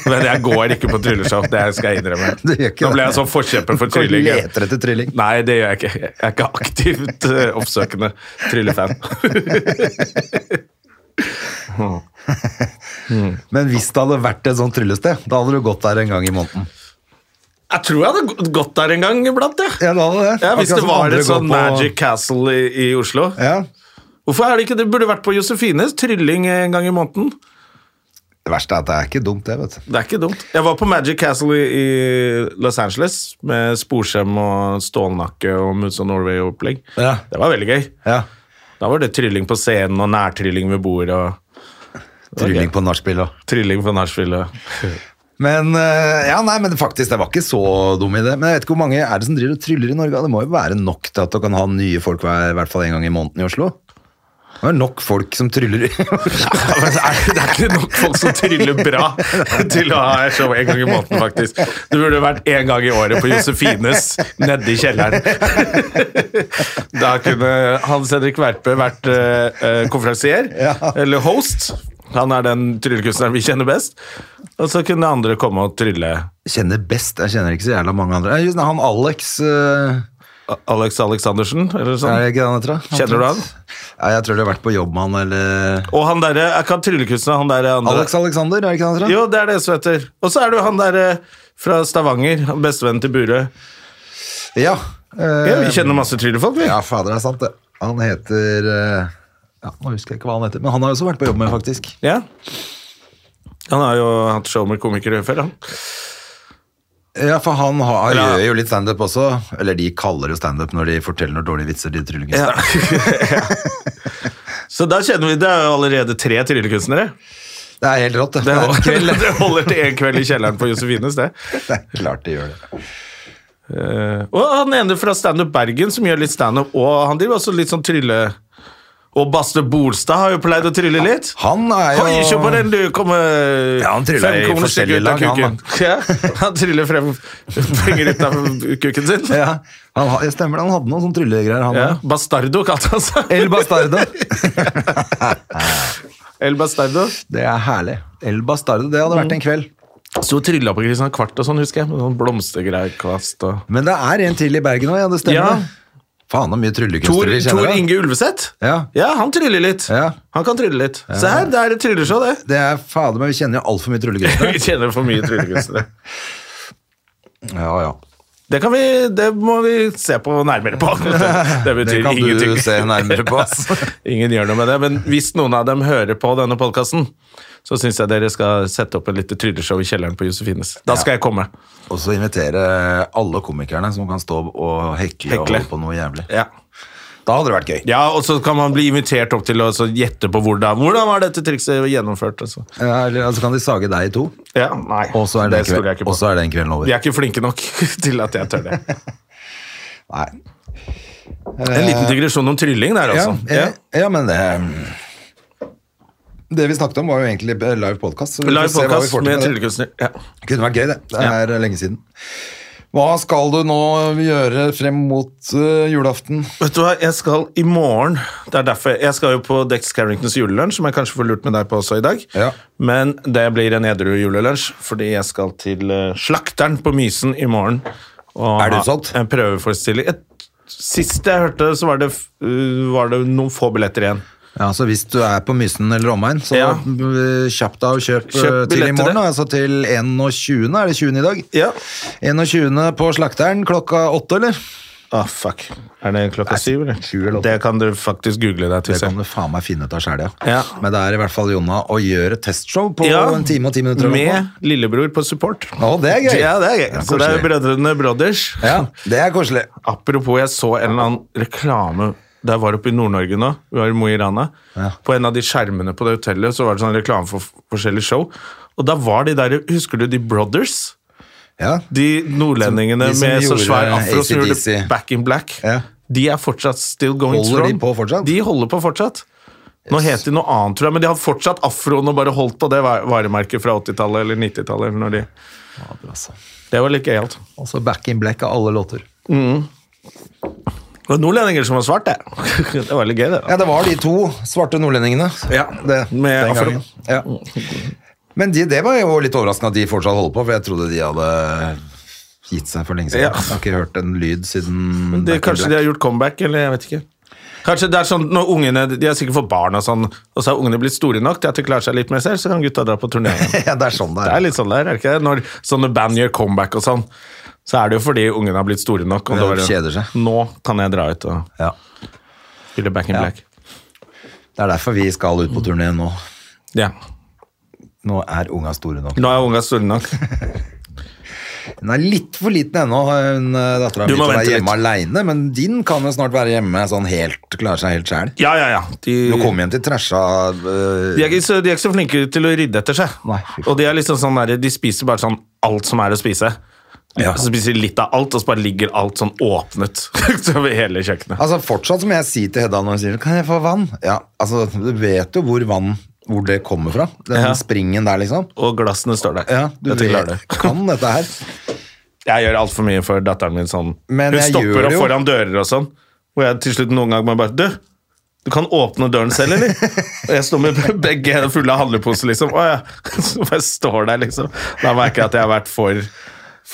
S1: Men jeg går ikke på trylleshow, det skal jeg innrømme.
S2: [laughs] Du gjør ikke
S1: Nå ble
S2: det.
S1: jeg sånn forkjemper
S2: Går
S1: for
S2: og
S1: trilling.
S2: leter etter trylling.
S1: Nei, det gjør jeg ikke. Jeg er ikke aktivt eh, oppsøkende
S2: [laughs]
S1: tryllefan.
S2: Men hvis det hadde vært et sånt tryllested, da hadde du gått der en gang i måneden.
S1: Jeg tror jeg hadde gå- gått der en gang iblant, jeg.
S2: Ja, det hadde det.
S1: Ja, hvis
S2: Akkurat
S1: det
S2: som
S1: var
S2: andre
S1: et
S2: går
S1: sånn
S2: på-
S1: Magic Castle i, i Oslo.
S2: Ja,
S1: Hvorfor er det ikke det? Burde vært på Josefines. Trylling en gang i måneden.
S2: det verste er at det er ikke dumt det, vet du.
S1: Det er ikke dumt. Jeg var på Magic Castle i, i Los Angeles med sporskjem og stålnakke og Moods of Norway-opplegg.
S2: Ja.
S1: Det var veldig gøy.
S2: Ja,
S1: Da var det trylling på scenen og nærtrylling ved bordet og
S2: trylling på narspill og...
S1: trylling på nachspiel. og-
S2: Men eh, ja, nei, men faktisk, det var ikke så dum idé. Men jeg vet ikke hvor mange er det som driver og tryller i Norge? Det må jo være nok til at du kan ha nye folk hver, i hvert fall en gang i måneden i Oslo? Det er nok folk som tryller i [laughs]
S1: Ja, [laughs] men det er, det er ikke nok folk som tryller bra til å ha show en gang i måneden, faktisk. Det burde vært en gang i året på Josefines nede i kjelleren. [laughs] Da kunne Hans Henrik Verpe vært uh, konferansier, eller host. Han er den tryllekunstneren vi kjenner best. Og så kunne andre komme og trylle.
S2: Kjenner best, jeg kjenner ikke så jævla mange andre. Eh, just Han Alex eh,
S1: A- Alex Aleksandersen, eller
S2: Er det
S1: sånn.
S2: ikke det han heter? da?
S1: Kjenner du han?
S2: Nei, jeg tror du har vært på jobb med han, eller
S1: Og han derre er ikke han tryllekunstner, han derre andre.
S2: Alex Alexander, er det ikke han heter? da?
S1: Jo, det er det som heter. Og så er det jo han derre fra Stavanger, han bestevennen til Burøe.
S2: Ja. eh,
S1: Ja, vi kjenner masse tryllefolk, vi.
S2: ja, fader, det er sant, det. Han heter eh, ja, Nå husker jeg ikke hva han heter, men han har jeg også vært på jobb med, faktisk.
S1: Ja. Han har jo hatt show med komikere før, han.
S2: Ja, for han har,
S1: Ja.
S2: gjør jo litt standup også. Eller de kaller jo standup når de forteller noen dårlige vitser. de
S1: [laughs]
S2: tryllekunstnere.
S1: Så da kjenner vi Det er jo allerede tre tryllekunstnere.
S2: Det er helt rått, det. [laughs]
S1: Det,
S2: Det er en kveld.
S1: [laughs] det holder til én kveld i kjelleren på Josefines, det.
S2: Det er klart de gjør det.
S1: Eh, Og han ene fra Standup Bergen som gjør litt standup, og han driver også litt sånn trylle... Og Baste Bolstad har jo pleid å trylle litt.
S2: Han er jo
S1: Oi, se på den, du! Kom, eh,
S2: Ja, han tryller
S1: fem
S2: i
S1: kroner
S2: forskjellige
S1: stykket ut av
S2: lag, han,
S1: kuken. Ja, han tryller frem penger ut av kuken sin.
S2: Ja, han, har- stemmer det, han hadde noen sånne tryllegreier, han
S1: Ja.
S2: òg.
S1: Bastardo kalte han seg.
S2: El Bastardo.
S1: El Bastardo.
S2: [laughs] Det er herlig. El Bastardo, det
S1: Mm.
S2: hadde vært en kveld.
S1: Sto og trylla på Kristian Kvart og sånn, husker jeg. Med sånn blomstergreier, kvast og
S2: Men det er en til i Bergen òg, ja. Det stemmer.
S1: Ja.
S2: det. Faen, så mye
S1: Tor,
S2: tryllekunstnere vi
S1: Tor
S2: kjenner. da.
S1: Inge Ulveseth?
S2: Ja.
S1: han tryller litt.
S2: Ja.
S1: Han kan trylle litt. Se her, det er et trylleshow, det.
S2: Det er fader meg, vi kjenner jo altfor mye tryllekunstnere.
S1: [laughs] Vi tjener for mye tryllekunstnere.
S2: Ja, ja.
S1: [laughs] Det, kan vi, det må vi se på nærmere på.
S2: [laughs]
S1: Det betyr
S2: Det kan du
S1: ingenting.
S2: se nærmere på,
S1: [laughs]
S2: ass.
S1: Ingen gjør noe med det. Men hvis noen av dem hører på denne podkasten, så syns jeg dere skal sette opp et lite trylleshow i kjelleren på Josefines. Da skal jeg komme.
S2: Og så invitere alle komikerne som kan stå og hekle, og
S1: Hekle.
S2: holde på noe jævlig.
S1: Ja.
S2: Da hadde det vært gøy.
S1: Ja, og så kan man bli invitert opp til å så gjette på hvordan, hvordan var dette trikset gjennomført. Altså.
S2: Ja, eller altså kan de sage deg i to,
S1: Ja, nei,
S2: og så er,
S1: det
S2: den kve-
S1: stoler jeg ikke
S2: og
S1: på.
S2: så er den kvelden over.
S1: Vi er ikke flinke nok [laughs] til at jeg tør
S2: [laughs]
S1: det.
S2: Nei.
S1: En liten digresjon om trylling der,
S2: Ja,
S1: altså.
S2: ja, eh, ja, men det Det vi snakket om, var jo egentlig eh, live podkast.
S1: Live podcast med
S2: det.
S1: tryllekunstner. Ja.
S2: Det kunne vært gøy, det. Det er lenge siden. Hva skal du nå gjøre frem mot eh, julaften?
S1: Vet du hva, jeg skal i morgen Det er derfor Jeg skal jo på Dex Carringtons julelunsj, som jeg kanskje får lurt med deg på også i dag.
S2: Ja.
S1: Men det blir en edru julelunsj, fordi jeg skal til eh, Slakteren på Mysen i morgen. Og
S2: Er det
S1: ha
S2: utsolgt?
S1: En prøveforestilling. Et, sist jeg hørte, så var det, f- uh, var det noen få billetter igjen.
S2: Ja, så Hvis du er på Mysen eller omegn, så
S1: Ja.
S2: eh, kjapp deg og kjøp, eh,
S1: Kjøp
S2: til i
S1: billett til det.
S2: morgen. da, Altså til 21. Er det 20. i dag?
S1: Ja.
S2: 21. på Slakteren klokka åtte, eller?
S1: Ah, fuck. Er det klokka syv, eller?
S2: sju eller åtte.
S1: Det kan du faktisk google deg til
S2: Det kan
S1: selv.
S2: du faen meg finne ut av sjæl, ja.
S1: Ja.
S2: Men det er i hvert fall Jonna å gjøre et testshow på
S1: Ja,
S2: en time og ti minutter. eller noe.
S1: Med lillebror på support.
S2: Å, det er gøy!
S1: Ja, det er gøy.
S2: Ja,
S1: Så det er
S2: koselig.
S1: Brødrene Brothers.
S2: Ja, det er koselig.
S1: Apropos, jeg så en eller annen reklame da jeg var oppe i Nord-Norge nå, vi var i Mo i Rana. På en av de skjermene på det hotellet så var det sånn reklame for f- forskjellige show. Og da var de der, husker du de Brothers?
S2: Ja.
S1: De nordlendingene
S2: De som
S1: med så
S2: gjorde
S1: svær afro som gjorde
S2: AC/DC.
S1: Back in Black.
S2: Ja.
S1: De er fortsatt still going
S2: Holder
S1: strong.
S2: de på fortsatt?
S1: De holder på fortsatt. Nå heter de noe annet, tror jeg, men de har fortsatt afroen og bare holdt på det va- varemerket fra 80-tallet eller 90-tallet. eller når De... Det var litt gøyalt.
S2: Også altså. Back in Black av alle låter.
S1: Det var nordlendinger som var svart, [laughs] det. det var litt gøy, det. da.
S2: Ja, det var de to svarte nordlendingene.
S1: Ja,
S2: det,
S1: med
S2: den
S1: afro.
S2: gangen. Ja. Men de, det var jo litt overraskende at de fortsatt holder på, for jeg trodde de hadde gitt seg for lenge siden.
S1: Ja.
S2: Jeg har ikke hørt en lyd siden
S1: Det,
S2: Back in
S1: kanskje
S2: Black.
S1: de har gjort comeback, eller jeg vet ikke. Kanskje det er sånn når ungene De har sikkert fått barn og sånn, og så har ungene blitt store nok til at de klarer seg litt mer selv, så kan gutta dra på turné.
S2: [laughs]
S1: igjen.
S2: ja, det er sånn det
S1: Det
S2: er.
S1: er litt sånn der, er det ikke det? Når sånne band gjør comeback og sånn, så er det jo fordi ungene har blitt store nok. Og
S2: Ja,
S1: da er det-
S2: kjeder seg.
S1: Nå kan jeg dra ut og
S2: Ja.
S1: spille Back in
S2: Ja.
S1: Black.
S2: Det er derfor vi skal ut på turné nå.
S1: Ja.
S2: Nå er unga store nok. [laughs]
S1: Nå er unga store nok.
S2: Hun er litt for liten ennå, hun eh, dattera
S1: Du
S2: mi, til å
S1: må vente
S2: være
S1: litt.
S2: hjemme aleine. Men din kan jo snart være hjemme sånn helt, klare seg helt sjæl.
S1: Ja, ja, ja. De,
S2: Du kommer hjem til træsja eh,
S1: de, er ikke så, de er ikke så flinke til å rydde etter seg.
S2: Nei, fy faen.
S1: og de er liksom sånn der, de spiser bare sånn alt som er å spise.
S2: Ja.
S1: Så spiser de litt av alt, og så bare ligger alt sånn åpnet [laughs] over hele kjøkkenet.
S2: Altså Fortsatt som jeg sier til Hedda når hun sier 'kan jeg få vann'? Ja, altså Du vet jo hvor vann hvor det kommer fra. Den
S1: Ja.
S2: springen der, liksom.
S1: Og glassene står der.
S2: Ja, du
S1: Dette
S2: vet,
S1: klarer du.
S2: kan dette her.
S1: Jeg gjør altfor mye for datteren min sånn.
S2: Men
S1: Hun
S2: jeg gjør
S1: stopper
S2: det
S1: og
S2: jo.
S1: foran dører og sånn. Og jeg til slutt noen gang må jeg bare Du! Du kan åpne døren
S2: [laughs]
S1: selv, eller? Og jeg står med begge hendene fulle av handleposer, liksom. Å ja. [laughs] Så bare står der, liksom. Da merker jeg at jeg har vært for,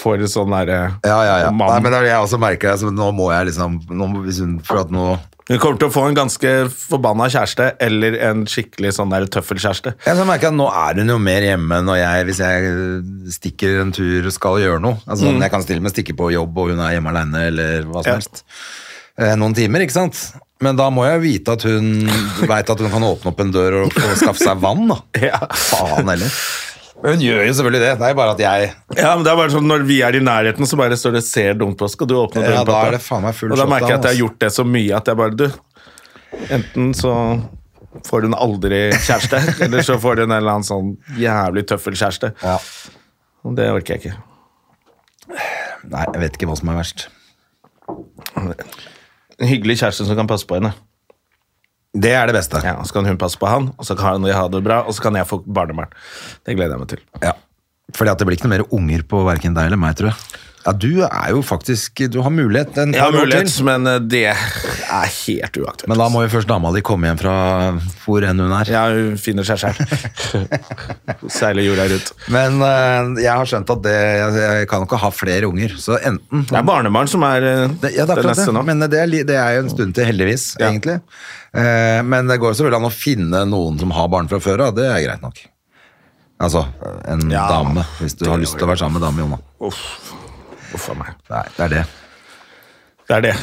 S1: for sånn derre
S2: Ja, ja,
S1: [laughs]
S2: ja. Nei,
S1: mann.
S2: men det er det jeg også merker altså, nå må jeg liksom nå, må- hvis hun, For at nå
S1: Hun kommer til å få en ganske forbanna kjæreste, eller en skikkelig sånn der tøffelkjæreste.
S2: Jeg så merker jeg at nå er hun jo mer hjemme når jeg, hvis jeg øh, stikker en tur og skal gjøre noe. Altså, Jeg kan stille med stikke på jobb, og hun er hjemme alene, eller hva som
S1: Mm. Ja.
S2: helst. Eh, Noen timer, ikke sant? Men da må jeg jo vite at hun vet at hun kan åpne opp en dør og, og skaffe seg vann, da.
S1: [laughs] Ja.
S2: Faen heller. Men Hun gjør jo selvfølgelig det. Det er jo bare at jeg
S1: Ja, men det er bare sånn Når vi er i nærheten, så bare står det 'ser dumt på oss', skal du åpne
S2: Ja,
S1: døren?
S2: da
S1: pappa?»
S2: er det faen meg full
S1: Og da
S2: shot
S1: merker jeg
S2: down,
S1: at jeg har
S2: altså.
S1: gjort det så mye at jeg bare Du, enten så får hun aldri kjæreste,
S2: [laughs]
S1: eller så får hun en eller annen sånn jævlig tøffel kjæreste.
S2: ja.
S1: Og det orker jeg ikke.
S2: Nei, jeg vet ikke hva som er verst.
S1: En hyggelig kjæreste som kan passe på henne.
S2: Det er det beste.
S1: Ja, og Så kan hun passe på han, og så kan jeg ha det bra, og så kan jeg få barnebarn. Det gleder jeg meg til.
S2: Ja. Fordi at det blir ikke noe mer unger på hverken deg eller meg, tror jeg. Ja, du er jo faktisk Du har mulighet. En
S1: Jeg har
S2: par år
S1: mulighet,
S2: til.
S1: men eh, det er helt uaktuelt.
S2: Men da må jo først dama di komme hjem fra hvor enn hun er.
S1: [laughs] Ja, hun finner seg
S2: [laughs]
S1: sjæl. Seiler jorda rundt.
S2: Men eh, jeg har skjønt at det, jeg, jeg kan jo ikke ha flere unger, så enten
S1: Det er barnebarn som er eh,
S2: det, ja, det, er
S1: det
S2: akkurat
S1: neste
S2: det.
S1: nå.
S2: Men det er, li- det er jo en stund til, heldigvis,
S1: Ja.
S2: egentlig. Eh, men det går jo selvfølgelig an å finne noen som har barn fra før av, det er greit nok. Altså en
S1: Ja.
S2: dame, hvis du har lyst til å være sammen med dame, Jonna.
S1: Uff a meg.
S2: Nei, det er det.
S1: Det er det.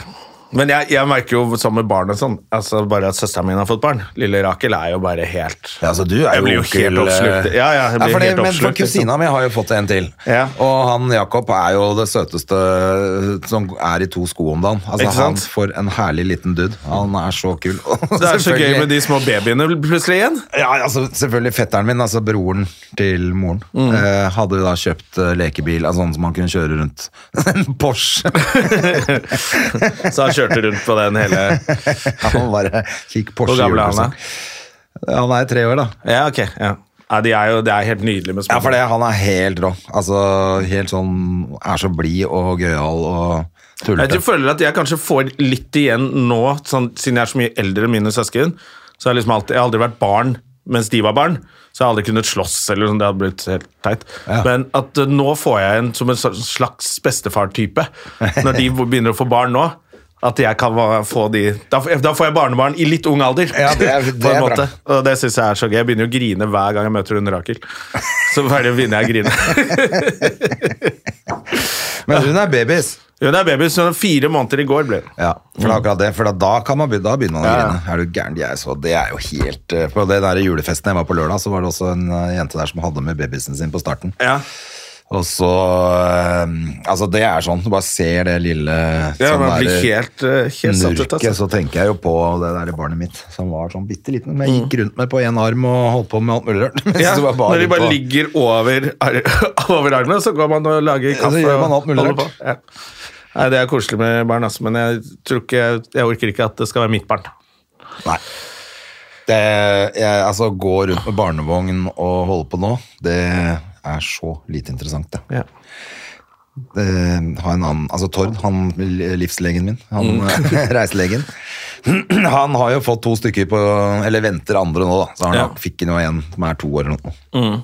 S1: Men jeg, jeg merker jo sånn med barn og sånn, altså bare at søsteren min har fått barn. Lille Rakel er jo bare helt
S2: Ja, altså du er
S1: Jeg blir jo
S2: onkel,
S1: helt oppslukt.
S2: eh,
S1: Ja, ja, jeg blir
S2: fordi-
S1: helt
S2: Men for
S1: oppslukt, liksom.
S2: kusina mi har jo fått en til.
S1: Ja.
S2: Og han Jakob er jo det søteste eh, som er i to sko om dagen. Altså
S1: Ikke
S2: han
S1: sant?
S2: får en herlig liten dude. Han er så kul. [laughs]
S1: Det er så gøy med de små babyene plutselig igjen.
S2: Ja, altså selvfølgelig fetteren min, altså broren til moren,
S1: Mm.
S2: eh, hadde jo da kjøpt eh, lekebil, altså sånn som han kunne kjøre rundt. [laughs] En Porsche.
S1: [laughs] Så han kjørte rundt på den hele
S2: [laughs] han bare fikk Porsche
S1: Hvor gammel er
S2: julepresang.
S1: han da?
S2: Han er tre år da.
S1: Ja, ok. Ja. Nei, de er jo, det er helt nydelig med små
S2: Ja, for det, han er helt rå. Altså, helt sånn Er så blid og gøyal og
S1: Jeg
S2: tullete.
S1: tror- føler at jeg kanskje får litt igjen nå, sånn, siden jeg er så mye eldre enn mine søsken. Så har jeg, liksom alltid, jeg har aldri vært barn mens de var barn, så jeg har aldri kunnet slåss. eller sånn, det hadde blitt helt teit.
S2: Ja.
S1: Men at eh, nå får jeg en som en sl- slags bestefar-type, når
S2: [laughs]
S1: de begynner å få barn nå. At jeg kan va- få de Da, f- da får jeg barnebarn i litt ung alder.
S2: Ja, det er- det
S1: [laughs] på en
S2: er bra.
S1: måte. Og det syns jeg er så gøy. Jeg begynner jo å grine hver gang jeg møter hun Rakel.
S2: [laughs]
S1: Så bare begynner jeg å grine. [laughs]
S2: Men hun er babys.
S1: Hun er baby, så hun er fire måneder i går ble hun.
S2: Ja, for det er akkurat det. For da, da, kan man, be- da begynner man å
S1: Ja, ja.
S2: grine. Er du gæren? De er så, det er jo helt eh, På den der julefesten jeg var på lørdag, så var det også en eh, jente der som hadde med babysen sin på starten.
S1: Ja.
S2: Og så eh, Altså, det er sånn. Du bare ser det lille
S1: Ja,
S2: sånn
S1: man blir
S2: der-
S1: helt, eh, helt satt ut.
S2: Nurket,
S1: Altså.
S2: så tenker jeg jo på det der barnet mitt som var sånn bitte liten. Men jeg gikk rundt med på én arm og holdt på med alt mulig rørt. [laughs] mens
S1: Mm. Ja,
S2: det var
S1: når de bare
S2: på-
S1: ligger over, ar [laughs] over armene, så går man og lager
S2: så
S1: kaffe.
S2: gjør
S1: og
S2: man alt mulig
S1: holder
S2: rart.
S1: på. Ja. Nei, det er koselig med barn, altså, men jeg, tror ikke, jeg orker ikke at det skal være mitt barn.
S2: Nei. Det, jeg, altså, gå rundt med barnevogn og holde på nå, det er så lite interessant, det.
S1: Ja.
S2: det ha en annen, altså Tord, han livslegen min, han
S1: Mm.
S2: eh, [laughs] reiselegen, [clears throat] han har jo fått to stykker på, eller venter andre nå, da. Så han
S1: Ja. Mm.
S2: fikk nå en som er to år eller noe.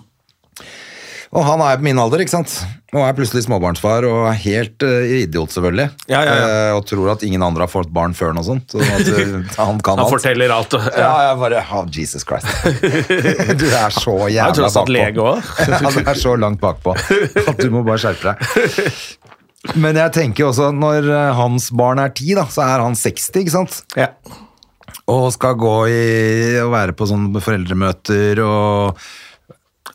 S2: Og han er på min alder, ikke sant? Og er plutselig småbarnsfar og er helt eh, idiot, selvfølgelig.
S1: Ja, ja, ja.
S2: Eh, og tror at ingen andre har fått barn før nå, sånn. Så at, eh, han kan
S1: Han
S2: alt.
S1: forteller alt. Og, ja.
S2: Ja, jeg bare oh, Jesus
S1: [laughs]
S2: Christ. Du er så jævla
S1: Jeg
S2: bakpå.
S1: tror jeg satt lege også.
S2: [laughs] Ja, du er så langt bakpå at du må bare skjerpe deg. Men jeg tenker jo også, når eh, hans barn er ti, da, så er han 60, ikke sant?
S1: Ja.
S2: Og skal gå i og være på sånne foreldremøter og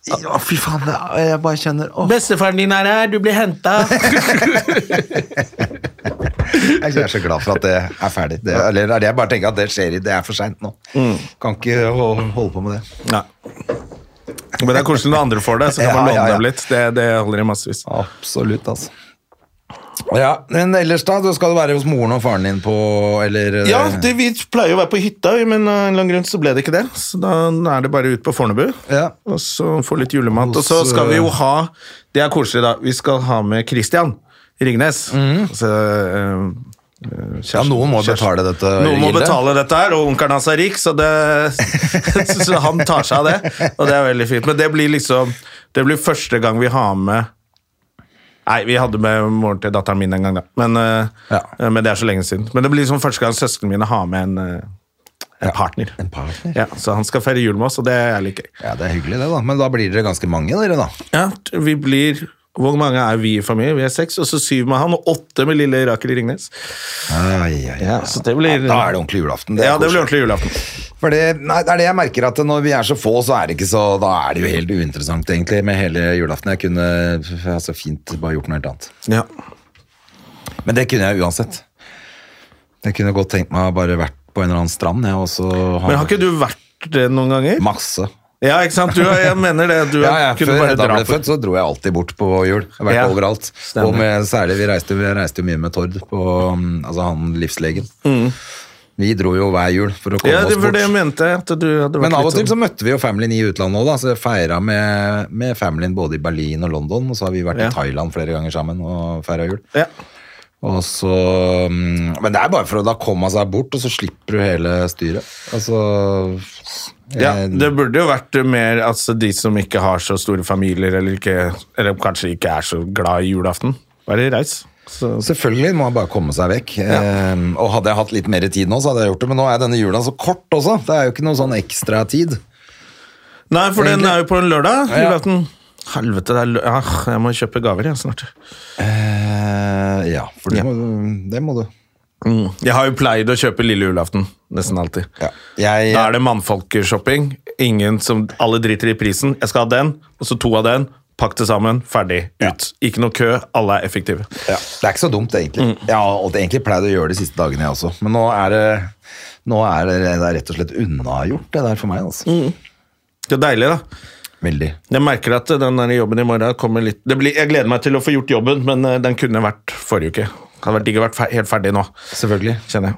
S2: Ja, fy faen, det er- jeg bare kjenner Åh,
S1: Bestefaren din er her, du blir henta.
S2: [laughs] Jeg er så glad for at det er ferdig. Det, eller det er det jeg bare tenker at det skjer i Det er for seint nå.
S1: Mm.
S2: Kan ikke ho- holde på med det.
S1: Men det er koselig når andre får det, så kan
S2: Ja,
S1: man
S2: ja,
S1: låne
S2: ja.
S1: dem litt. Det, det holder i massevis.
S2: Absolutt, altså. Ja, Men ellers, da? Du skal være hos moren og faren din på Eller eh,
S1: Ja, det, vi pleier jo å være på hytta, vi, men av en eller annen grunn så ble det ikke det. Så da er det bare ut på Fornebu,
S2: Ja.
S1: og så få litt julemat. Og så
S2: Hos,
S1: skal vi jo
S2: eh,
S1: ha, det er koselig da, vi skal ha med Christian Ringnes. Så, eh, eh,
S2: Mhm. Ja,
S1: kjæresten-
S2: noen må
S1: kjæresten-
S2: betale dette
S1: Noen må
S2: gildet.
S1: betale dette her, og onkelen hans er rik, så, det, [laughs] så han tar seg av det. Og det er veldig fint. Men det blir liksom Det blir første gang vi har med Nei, vi hadde med moren til datteren min en gang, da. Men, eh,
S2: Ja.
S1: eh, men det er så lenge siden. Men det blir liksom første gang søsknene mine har med en, eh, en partner.
S2: En partner?
S1: Ja, så han skal feire jul med oss, og det er litt gøy.
S2: Ja, det er hyggelig, det, da. Men da blir dere ganske mange, dere, da.
S1: Ja, t- vi blir Hvor mange er vi i familie? Vi er seks, og så syv med han, og åtte med lille Rakel Ringnes.
S2: Ai, ai, ai.
S1: så det blir
S2: Da er det ordentlig julaften.
S1: Ja,
S2: er
S1: det
S2: koselig.
S1: blir ordentlig julaften.
S2: For det, nei, det er det jeg merker, at når vi er så få, så er det ikke så Da er det jo helt uinteressant, egentlig, med hele julaften. Jeg kunne altså, fint bare gjort noe helt annet.
S1: Ja.
S2: Men det kunne jeg uansett. Jeg kunne godt tenkt meg å bare vært på en eller annen strand, jeg, og så ha
S1: Men har ikke du vært det noen ganger?
S2: masse.
S1: Ja, ikke sant? Du, jeg mener det. Du
S2: [laughs] Ja, ja,
S1: kunne
S2: Før
S1: bare
S2: Hedda
S1: dra
S2: ble
S1: på
S2: født, så dro jeg alltid bort på jul. Jeg har vært
S1: Ja,
S2: overalt.
S1: stemmer.
S2: Og med, særlig, vi reiste, vi reiste jo mye med Tord, på, um, altså han livslegen. Vi dro jo hver jul for å komme
S1: Mm. Ja, det
S2: oss
S1: var
S2: bort.
S1: det jeg mente. At du hadde vært
S2: Men av og
S1: litt
S2: til så
S1: sånn-
S2: møtte vi jo familien i utlandet òg, da. Så jeg feira med, med familien både i Berlin og London. Og så har vi vært
S1: Ja.
S2: i Thailand flere ganger sammen og feira jul.
S1: ja.
S2: Og så mm, Men det er bare for å da komme seg bort, og så slipper du hele styret. Altså
S1: ja,
S2: jeg-
S1: det burde jo vært mer altså, de som ikke har så store familier, eller, ikke, eller kanskje ikke er så glad i julaften. Bare reis. Så,
S2: Selvfølgelig må jeg bare komme seg vekk. Eh, og hadde jeg hatt litt mer tid nå, så hadde jeg gjort det. Men nå er denne jula så kort også. Det er jo ikke noe sånn ekstra tid.
S1: Nei, for den
S2: Egentlig-
S1: er jo på en lørdag.
S2: Ja.
S1: Julaften. Helvete, det er lø ah, jeg må kjøpe gaver jeg, snart.
S2: Eh, ja, for det,
S1: Ja.
S2: Må, det må du.
S1: Mm. Jeg har jo pleid å kjøpe lille julaften. Nesten alltid.
S2: Ja. Jeg,
S1: Da er det mannfolkeshopping. Ingen som, alle driter i prisen. Jeg skal ha den, og så to av den. Pakk det sammen, ferdig, ut. Ikke noe kø, alle er effektive.
S2: Ja, det Mm. er ikke så dumt, egentlig. Jeg har alltid egentlig pleid å gjøre det de siste dagene, jeg også. Men nå er det, nå er det, det er rett og slett unnagjort, det der for meg. Altså.
S1: Det er deilig, da.
S2: Veldig.
S1: Jeg merker at eh, den der jobben i morgen kommer litt det blir, Jeg gleder meg til å få gjort jobben, men eh, den kunne vært forrige uke. Hadde vært digg å vært fer helt ferdig nå,
S2: Selvfølgelig.
S1: kjenner jeg.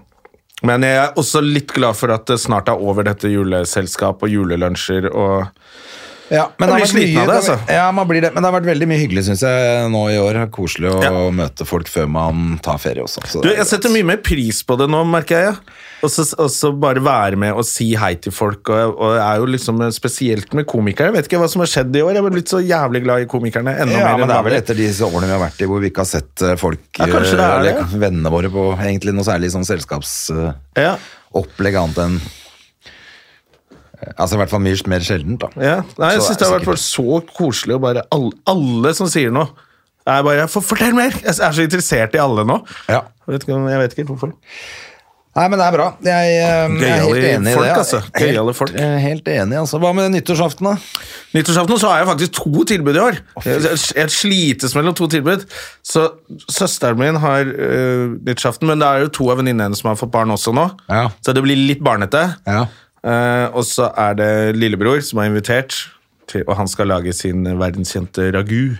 S1: Men jeg er også litt glad for at det snart er over dette juleselskap og julelunsjer og
S2: Ja, men det
S1: Jeg
S2: har
S1: blir
S2: vært
S1: sliten av
S2: mye-
S1: det, altså.
S2: Ja, man blir det. Men det har vært veldig mye hyggelig, syns jeg, nå i år. Koselig å
S1: Ja.
S2: møte folk før man tar ferie også. så
S1: Du,
S2: det er
S1: jeg setter
S2: greit.
S1: mye mer pris på det nå, merker jeg. Og så og så bare være med og si hei til folk. Og, og jeg er jo liksom Spesielt med komikere. Jeg vet ikke hva som har skjedd i år. Jeg er blitt så jævlig glad i komikerne. Enda
S2: ja,
S1: mer
S2: men
S1: enn
S2: det er vel
S1: vanlig.
S2: etter de årene vi har vært i hvor vi ikke har sett eh, folk,
S1: Ja, kanskje det er
S2: eh,
S1: det,
S2: eller vennene våre, på egentlig noe særlig sånn selskapsopplegg
S1: Ja,
S2: annet enn Altså i hvert fall mye mer sjeldent, da.
S1: ja. Nei, jeg
S2: Så
S1: syns det har vært
S2: sikkert-
S1: bare så koselig å bare alle, alle som sier noe, er bare For fortell mer! Jeg er så interessert i alle nå.
S2: Ja.
S1: Jeg vet ikke, om- jeg vet ikke hvorfor.
S2: Nei, men det er bra. Jeg, eh, jeg er helt
S1: Gøyale
S2: enig i
S1: folk,
S2: det. ja.
S1: altså. Gøyale folk.
S2: Helt, eh, helt enig, altså. Hva med nyttårsaften, da?
S1: Nyttårsaften så har jeg faktisk to tilbud i år. Jeg, jeg slites mellom to tilbud. Så søsteren min har øh, nyttårsaften, men det er jo to av venninnene hennes som har fått barn også nå.
S2: Ja.
S1: Så det blir litt barnete.
S2: Ja.
S1: Eh, og så er det lillebror som er invitert, til, og han skal lage sin verdenskjente ragu.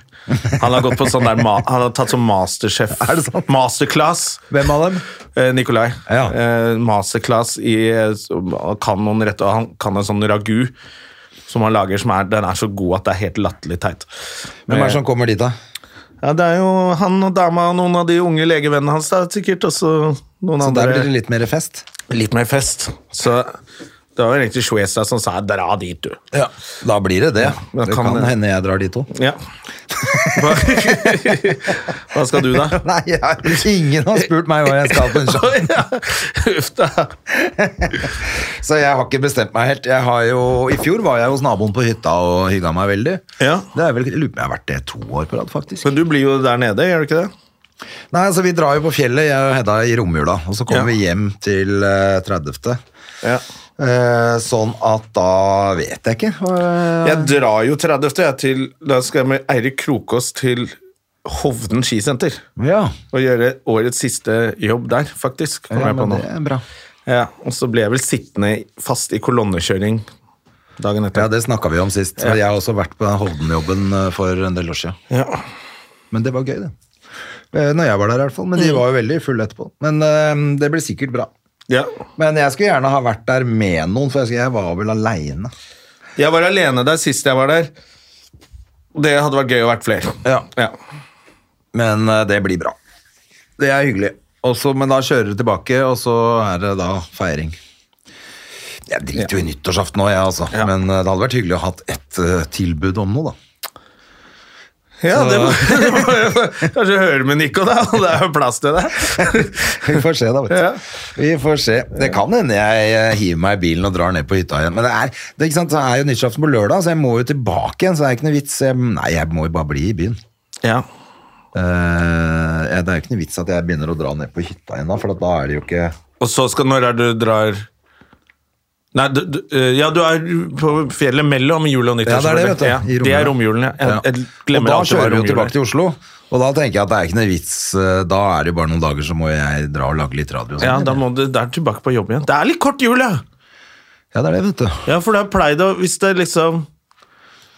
S1: Han har gått på sånn der, ma- han har tatt sånn masterchef,
S2: Er det sant?
S1: masterclass.
S2: Hvem av dem?
S1: Eh, Nikolai.
S2: Ja.
S1: Eh, masterclass i eh, som- kan noen rette, og han kan en sånn ragu som han lager, som er, den er så god at det er helt latterlig teit.
S2: Hvem er det som kommer dit, da?
S1: Ja, det er jo han og dama og noen av de unge legevennene hans, da, sikkert. Og så noen
S2: Så
S1: andre.
S2: der blir det litt mer fest?
S1: litt mer fest. Så det var egentlig Shwesa som sa 'dra dit, du'.
S2: Ja. Da blir det det.
S1: men
S2: det
S1: kan
S2: kan,
S1: det-
S2: hende jeg drar dit òg.
S1: Ja. Hva, [laughs] Hva skal du, da?
S2: Nei, jeg, ingen har spurt meg hva jeg skal
S1: [laughs]
S2: på en show.
S1: Å, ja. Uff da.
S2: Så jeg har ikke bestemt meg helt. Jeg har jo, I fjor var jeg hos naboen på hytta og hygga meg veldig.
S1: Ja.
S2: Det er vel, jeg lurer på om jeg har vært det to år på rad, faktisk.
S1: Men du blir jo der nede, gjør du ikke det?
S2: Nei, altså Vi drar jo på fjellet, jeg og Hedda, i romjula. Og så kommer
S1: Ja.
S2: vi hjem til eh, 30.
S1: Ja.
S2: Eh, sånn at da vet jeg ikke. Eh,
S1: Jeg drar jo 30. Jeg til, da skal jeg med Eirik Krokås til Hovden skisenter.
S2: ja.
S1: Og gjøre årets siste jobb der, faktisk. kommer
S2: ja,
S1: jeg på
S2: men
S1: nå.
S2: det er bra.
S1: Ja, og så ble jeg vel sittende fast i kolonnekjøring dagen
S2: Ja,
S1: etter.
S2: det snakka vi om sist. og Jeg har også vært på den Hovden-jobben eh, for en del år siden.
S1: Ja.
S2: Men det var gøy, det. Eh, Når jeg var der, i hvert fall. Men de
S1: Mm.
S2: var jo veldig fulle etterpå. Men eh, det blir sikkert bra.
S1: Ja.
S2: Men jeg skulle gjerne ha vært der med noen, for jeg, skulle, jeg var vel aleine.
S1: Jeg var alene der sist jeg var der. Det hadde vært gøy å vært flere.
S2: Ja. Men eh, det blir bra. Det er hyggelig. Og så- men da kjører du tilbake, og så er det da feiring. Jeg driter jo i nyttårsaften nå, jeg, altså.
S1: Ja.
S2: Men eh, det hadde vært hyggelig å ha hatt et eh, tilbud om noe, da.
S1: Ja, det må, [laughs] Kanskje hører med Nico, da. og Det er jo plass til det.
S2: [laughs] Vi får se, da. vet du.
S1: Ja.
S2: Vi får se. Det kan hende jeg eh, hiver meg i bilen og drar ned på hytta igjen. Men det er, det, er ikke sant? Det er jo nyttårsaften på lørdag, så jeg må jo tilbake igjen. Så det er ikke noe vits. Jeg, nei, jeg må jo bare bli i byen.
S1: Ja.
S2: Eh, jeg- det er jo ikke noe vits at jeg begynner å dra ned på hytta igjen da, for at da er det jo ikke
S1: Og så skal Når er det du drar Nei, du, du, eh, ja, du er på fjellet mellom jul og
S2: Ja,
S1: nyttår.
S2: det er det, vet du.
S1: Ja,
S2: i
S1: det
S2: romjulen.
S1: er romjulen, ja. Jeg, jeg
S2: og
S1: glemmer
S2: da
S1: alltid hva
S2: kjører vi jo
S1: romjulen
S2: tilbake
S1: er.
S2: til Oslo, og da tenker jeg at det er ikke noe vits. eh, Da er det jo bare noen dager så må jeg dra og lage litt radio. og sånn.
S1: Ja, da må du der tilbake på jobb igjen. Det er litt kort jul, ja!
S2: ja, det er det, vet du.
S1: Ja, for da pleier det å Hvis det liksom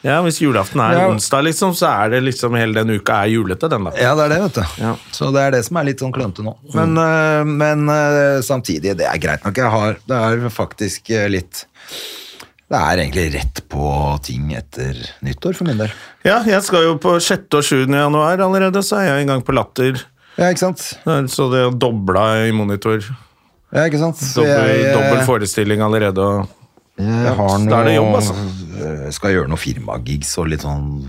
S1: Ja, hvis julaften er
S2: Ja.
S1: onsdag, liksom, så er det liksom hele den uka er julete, den, da.
S2: Ja, det er det, vet du.
S1: Ja. Mm.
S2: Så det er det som er litt sånn klønete nå. Men, øh, men øh, samtidig, det er greit nok. Jeg har, det er faktisk øh, litt Det er egentlig rett på ting etter nyttår, for min del.
S1: Ja, jeg skal jo på 6. og 7. januar allerede, så er jeg i gang på Latter.
S2: Ja, ikke sant?
S1: Der Så det er dobla i monitor.
S2: Ja, ikke sant? Så
S1: Dobbel,
S2: jeg, øh,
S1: dobbel forestilling allerede. og-
S2: jeg har
S1: så
S2: noe,
S1: da er det jobb, altså.
S2: øh, Skal gjøre noen firmagigs og litt sånn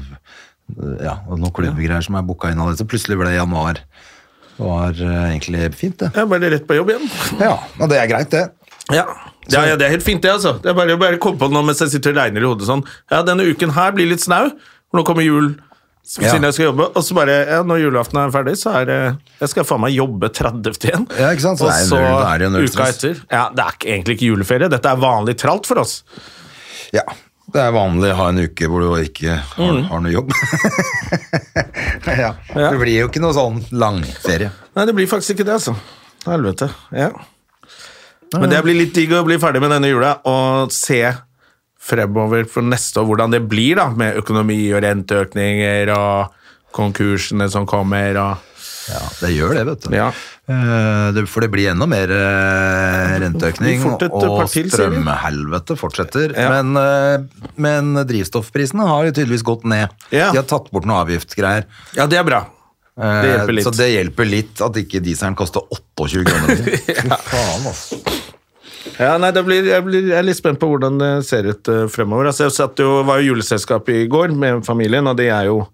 S2: øh, Ja, og noen klubbegreier som er booka inn allerede. Så plutselig ble det januar. Det var øh, egentlig fint, det.
S1: Jeg er bare rett på jobb igjen.
S2: Ja, og det er greit, det.
S1: Ja. Ja, ja, det er helt fint, det, altså. Det er bare, bare kom på noe mens jeg sitter og regner i hodet sånn. Ja, denne uken her blir litt snau, for nå kommer jul s-
S2: Ja.
S1: siden jeg skal jobbe. Og så bare, ja, når julaften er ferdig, så er det Jeg skal faen meg jobbe 30. igjen.
S2: Ja, ikke sant? Så
S1: og
S2: det er
S1: så
S2: null- da er det jo null
S1: uka
S2: stress.
S1: etter. Ja, det er ikke, egentlig ikke juleferie. Dette er vanlig tralt for oss.
S2: Ja, det er vanlig å ha en uke hvor du ikke har, har noe jobb. [laughs] ja.
S1: Mm. Ja.
S2: Det blir jo ikke noe sånn langferie.
S1: Nei, det blir faktisk ikke det, altså. Helvete. Ja. Men det blir litt digg å bli ferdig med denne jula og se fremover for neste år hvordan det blir, da, med økonomi og renteøkninger og konkursene som kommer og
S2: Ja, det gjør det, vet du.
S1: Ja.
S2: Eh, det- For det blir enda mer eh, renteøkning,
S1: Fort et
S2: og
S1: par til, sier vi.
S2: strømhelvete fortsetter.
S1: Ja.
S2: Men, eh, men drivstoffprisene har jo tydeligvis gått ned.
S1: Ja.
S2: De har tatt bort noen avgiftsgreier.
S1: Ja, det er bra.
S2: Eh,
S1: Det hjelper litt.
S2: Så det hjelper litt at ikke dieselen koster 28 kroner.
S1: [laughs]
S2: Fy faen, altså.
S1: Ja, nei, det blir, jeg, blir, jeg er litt spent på hvordan det ser ut eh, fremover. Altså, jeg satt jo, var jo juleselskap i går med familien, og de er jo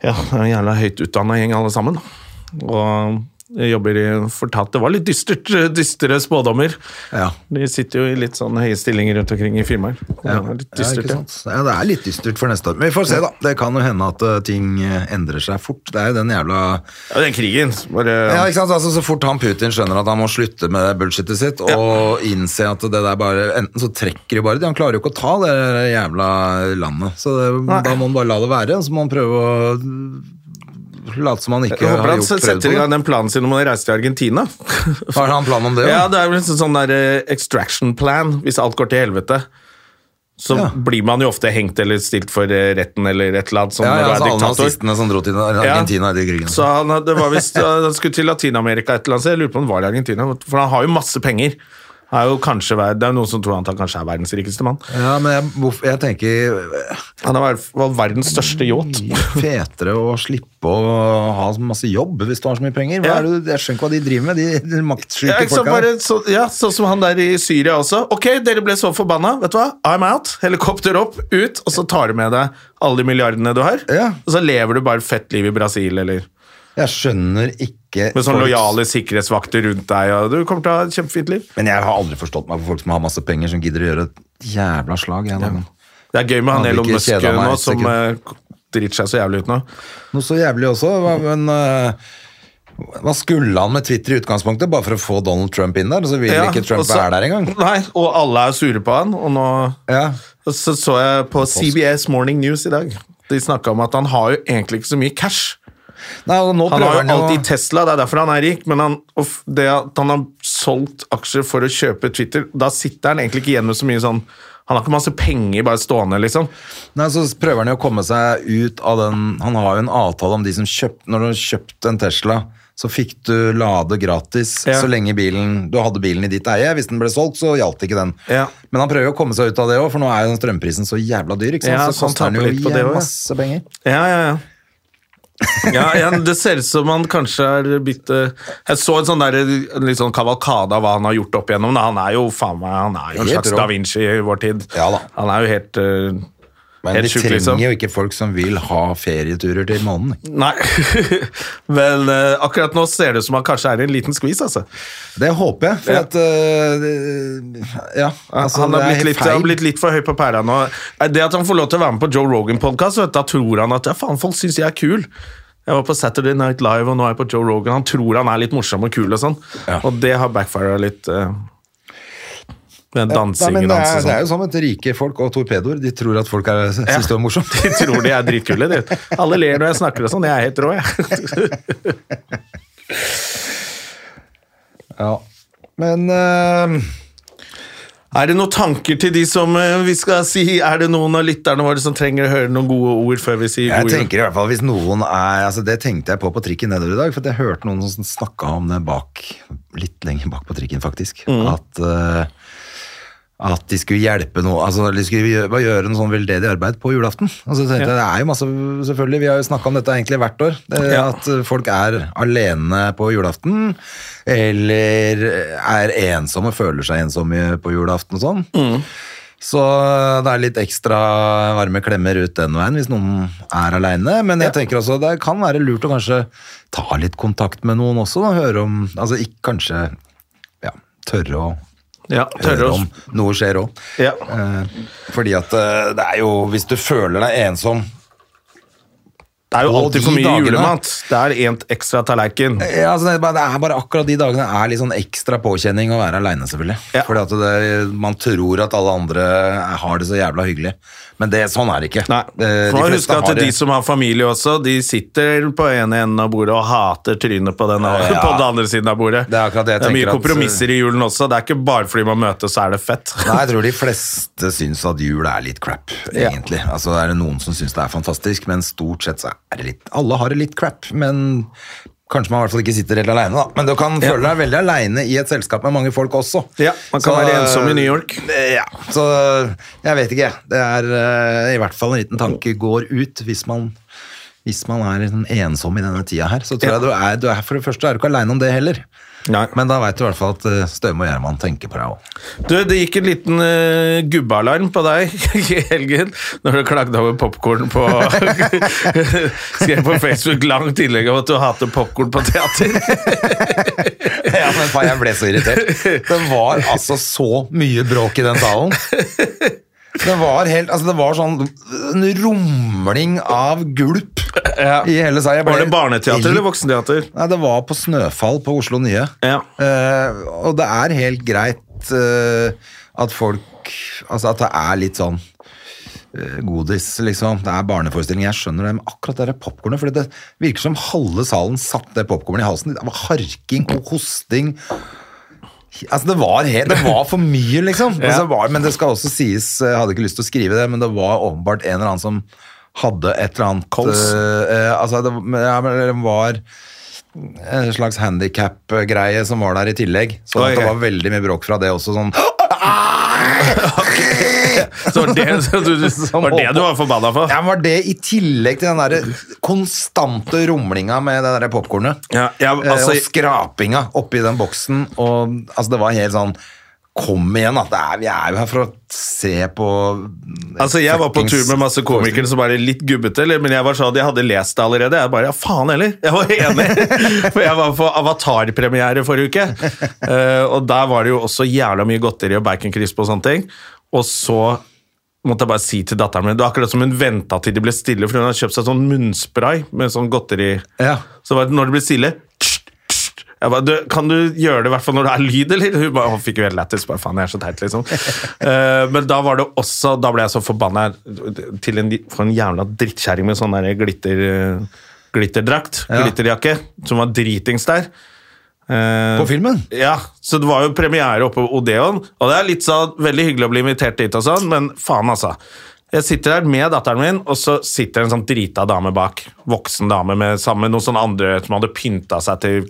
S1: ja, det er en jævla høyt utdanna gjeng alle sammen. Og jeg jobber i fortatt Det var litt dystert, [laughs] eh, dystre spådommer.
S2: Ja.
S1: De sitter jo i litt sånn høye stillinger rundt omkring i firmaer. Ja, litt dystert,
S2: ja,
S1: ja.
S2: ikke sant? ja, det er litt dystert for neste år. Men vi får se, da. Det kan jo hende at eh, ting eh, endrer seg fort. Det er jo den jævla
S1: ja, den krigen. Bare,
S2: ja, ikke sant? Altså, Så fort han Putin skjønner at han må slutte med det bullshitet sitt og innse at det der bare Enten så trekker de bare de, Han klarer jo ikke å ta det der jævla landet. Så det,
S1: Nei.
S2: da må han bare la det være, og så må han prøve å late som han ikke
S1: jeg håper
S2: har
S1: han
S2: gjort prøvd
S1: setter i
S2: på
S1: gang
S2: det.
S1: den planen sin om å reise til Argentina. [laughs]
S2: Har han plan om det?
S1: Ja,
S2: Ja,
S1: det er vel en sånn der eh, extraction plan, hvis alt går til helvete. Så
S2: Ja.
S1: blir man jo ofte hengt eller stilt for eh, retten eller et eller annet. Sånn
S2: ja, ja,
S1: når du er
S2: altså, alle
S1: diktator.
S2: nazistene som dro til Argentina i de krigene.
S1: Så han, hadde- det var visst, eh, han skulle til Latin-Amerika et eller annet sted. Jeg lurer på om det var i Argentina, for han har jo masse penger. Han Er jo kanskje, ver- det er jo noen som tror han kanskje er verdens rikeste mann.
S2: Ja, men jeg, hvorf- jeg tenker eh,
S1: Han er i hvert fall verdens største yacht.
S2: mye fetere å slippe å ha så masse jobb hvis du har så mye penger. Hva
S1: Ja.
S2: er det, du- jeg skjønner ikke hva de driver med, de, de
S1: Ja,
S2: maktsjuke
S1: ikke sant,
S2: folka.
S1: bare,
S2: der.
S1: så, ja, sånn som han der i Syria også. Ok, dere ble så forbanna. Vet du hva? I'm out. Helikopter opp, ut, og så tar du med deg alle de milliardene du har.
S2: Ja.
S1: Og så lever du bare fett liv i Brasil, eller
S2: Jeg skjønner ikke
S1: med sånn
S2: folk-
S1: lojale sikkerhetsvakter rundt deg, og du kommer til å ha et kjempefint liv.
S2: Men jeg har aldri forstått meg for folk som har masse penger, som gidder å gjøre et jævla slag. Jeg, da. Men
S1: Det er gøy med han
S2: Hadde
S1: Elon
S2: ikke
S1: Musk
S2: kjedet meg
S1: nå,
S2: et
S1: som
S2: sekund.
S1: eh, driter seg så jævlig ut nå.
S2: Noe så jævlig også, hva- men øh, Hva skulle han med Twitter i utgangspunktet? Bare for å få Donald Trump inn der? og Så vil
S1: Ja,
S2: ikke Trump
S1: og så-
S2: være der engang.
S1: Nei, og alle er sure på han, og nå
S2: Ja.
S1: og så, så jeg på CBS Morning News i dag. De snakka om at han har jo egentlig ikke så mye cash.
S2: Nei, og nå
S1: Han har
S2: prøver
S1: jo alltid
S2: å
S1: Tesla, det er derfor han er rik, men han, og f- det at han har solgt aksjer for å kjøpe Twitter, da sitter han egentlig ikke igjen med så mye sånn Han har ikke masse penger bare stående, liksom.
S2: Nei, så prøver han jo å komme seg ut av den Han har jo en avtale om de som kjøpte Når du kjøpte en Tesla, så fikk du lade gratis
S1: Ja.
S2: så lenge bilen, du hadde bilen i ditt eie. Hvis den ble solgt, så gjaldt ikke den.
S1: Ja.
S2: Men han prøver jo å komme seg ut av det òg, for nå er jo den strømprisen så jævla dyr. Ikke sant?
S1: Ja, så
S2: så
S1: han
S2: koster den
S1: taper
S2: jo
S1: litt på det
S2: jævla
S1: også, ja.
S2: masse penger.
S1: Ja, ja, ja. Ja, ja, Det ser ut som han kanskje er blitt eh, Jeg så en sånn der, en litt sånn kavalkade av hva han har gjort opp igjennom. da. Han er jo faen meg, han er jo en
S2: Helt
S1: slags
S2: rå.
S1: da Vinci i vår tid.
S2: Ja da.
S1: Han er jo helt eh,
S2: Men
S1: Helt
S2: vi
S1: sjukt,
S2: trenger
S1: liksom.
S2: jo ikke folk som vil ha ferieturer til månen.
S1: Nei. [laughs] Vel, eh, akkurat nå ser det ut som han kanskje er i en liten skvis, altså.
S2: Det håper jeg, for
S1: Ja.
S2: at øh, Ja, altså,
S1: han, har
S2: det er
S1: blitt
S2: helt
S1: litt,
S2: feil.
S1: han har blitt litt for høy på pæra nå. Eh, Det at han får lov til å være med på Joe Rogan-podkast, da tror han at ja, faen, folk syns jeg er kul. Jeg var på Saturday Night Live, og nå er jeg på Joe Rogan. Han tror han er litt morsom og kul og sånn,
S2: Ja.
S1: og det har backfira litt. eh, den
S2: Nei,
S1: dansingen
S2: men det,
S1: hans
S2: er,
S1: og
S2: det er
S1: sånn.
S2: jo sånn at rike folk og torpedoer De tror at folk er, synes det er morsomt.
S1: De tror de er dritkule, de. Alle ler når jeg snakker og sånn. Jeg er helt rå, jeg.
S2: Ja. Men eh,
S1: [laughs] Er det noen tanker til de som eh, vi skal si Er det noen av lytterne våre som trenger å høre noen gode ord før vi sier
S2: jeg
S1: god jul?
S2: tenker i hvert fall hvis noen er altså Det tenkte jeg på på trikken nedover i dag, for jeg hørte noen som snakka om det bak Litt lenger bak på trikken, faktisk.
S1: Mm.
S2: At eh, at de skulle hjelpe noe, altså de skulle gjøre, bare gjøre noe sånn veldedig arbeid på julaften. Altså, tenkte, jeg, Det er jo masse, selvfølgelig, Vi har jo snakka om dette egentlig hvert år. Det,
S1: Ja.
S2: At eh, folk er alene på julaften, eller er ensomme, føler seg ensomme på julaften og sånn. Så det er litt ekstra varme klemmer ut den veien hvis noen er aleine. Men jeg tenker også det kan være lurt å kanskje ta litt kontakt med noen også. Da. Høre om Altså ikke, kanskje ja, tørre å
S1: Ja,
S2: høre
S1: tørre å
S2: om noe skjer òg.
S1: Ja.
S2: Eh, fordi at eh, det er jo Hvis du føler deg ensom
S1: Det er jo
S2: Og
S1: alltid
S2: de
S1: for mye
S2: dagene-
S1: julemat. Det er en ekstra tallerken.
S2: ja, altså det, er bare, det er bare akkurat de dagene er litt sånn ekstra påkjenning å være aleine, selvfølgelig.
S1: Ja.
S2: Fordi at det, man tror at alle andre har det så jævla hyggelig. Men det, sånn er det ikke.
S1: Nei.
S2: Eh, de
S1: For
S2: fleste
S1: husk at
S2: har
S1: de
S2: det-
S1: som har familie også, de sitter på ene enden av bordet og hater trynet på den
S2: Ja.
S1: på den andre siden av bordet.
S2: Det er akkurat det jeg
S1: mye
S2: tenker at- eh,
S1: kompromisser i julen også. Det er ikke bare fordi man møtes, så er det fett.
S2: Nei, jeg tror de fleste syns at jul er litt crap,
S1: Ja.
S2: egentlig. Altså, er det noen som syns det er fantastisk, men stort sett så er det litt Alle har det litt crap, men kanskje man i hvert fall ikke sitter helt aleine, da. Men du kan føle deg veldig aleine i et selskap med mange folk også.
S1: Ja, man kan være ensom i New York.
S2: Eh, Ja, så jeg vet ikke. Det er eh, i hvert fall en liten tanke går ut hvis man hvis man er sånn ensom i denne tida her, så tror jeg du er, du er For det første er du ikke aleine om det heller.
S1: Nei.
S2: Men da veit du i hvert fall at eh, Støme og Gjerman tenker på deg òg.
S1: Du, det gikk en liten uh, gubbealarm på deg [laughs] i helgen når du klagde over popkorn på [laughs] Skrev på Facebook langt innlegg om at du hater popkorn på teater.
S2: [laughs] Ja, men faen, jeg ble så irritert. Det var altså så mye bråk i den salen. Det var helt, altså det var sånn en rumling av gulp
S1: Ja.
S2: i hele seg. Jeg ble
S1: Var det barneteater eller voksenteater?
S2: Nei, det var på Snøfall på Oslo Nye.
S1: Ja.
S2: Eh, og det er helt greit eh, at folk Altså at det er litt sånn eh, godis, liksom. Det er barneforestilling, jeg skjønner det, men akkurat det der popkornet Fordi det virker som halve salen satt det popkornet i halsen. Det var harking og hosting. Altså Det var, helt, det var for mye, liksom. Men, så var, men det skal også sies, eh, jeg hadde ikke lyst til å skrive det, men det var åpenbart en eller annen som hadde et eller annet
S1: Kols.
S2: eh, eh, altså det, men- ja, men det var en slags handikap-greie som var der i tillegg. Så
S1: Oi,
S2: at det
S1: ok.
S2: var veldig mye bråk fra det også.
S1: [gasps]
S2: Sånn,
S1: Så var det [laughs] så du, var, det du var forbanna for?
S2: ja, men var det i tillegg til den der konstante rumlinga med det der popkornet?
S1: Ja, ja,
S2: Eh,
S1: altså-
S2: og skrapinga oppi den boksen. Og, altså, det var helt sånn Kom igjen, da. Det er, vi er jo her for å se på
S1: Altså, Jeg var på tur med masse komikere
S2: forestilling.
S1: som var litt gubbete, eller- men jeg var sånn, jeg hadde lest det allerede. Jeg bare, ja faen heller, jeg var
S2: [laughs]
S1: enig. For jeg var på Avatar-premiere forrige uke, Eh, og der var det jo også jævla mye godteri og baconcrisp og sånne ting. Og så måtte jeg bare si til datteren min, det var akkurat som hun ventet til det ble stille, for hun hadde kjøpt seg sånn munnspray med sånn godteri.
S2: Ja.
S1: Så det var når det ble stille, tssst, Jeg ba, du, kan du gjøre det i hvert fall når det er lyd, eller? Hun, bare, hun fikk jo helt lættis. Bare faen, jeg er så teit, liksom. Eh, men da var det også Da ble jeg så forbanna til en, for en jævla drittkjerring med sånn der glitter, eh, glitterdrakt,
S2: Ja.
S1: glitterjakke, som var dritings der. Eh,
S2: På filmen?
S1: ja, så det var jo premiere oppe på Odeon, og det er litt sånn, veldig hyggelig å bli invitert dit og sånn, men faen altså. Jeg sitter her med datteren min, og så sitter en sånn drita dame bak. Voksen dame med sammen med noen sånne andre som hadde pynta seg til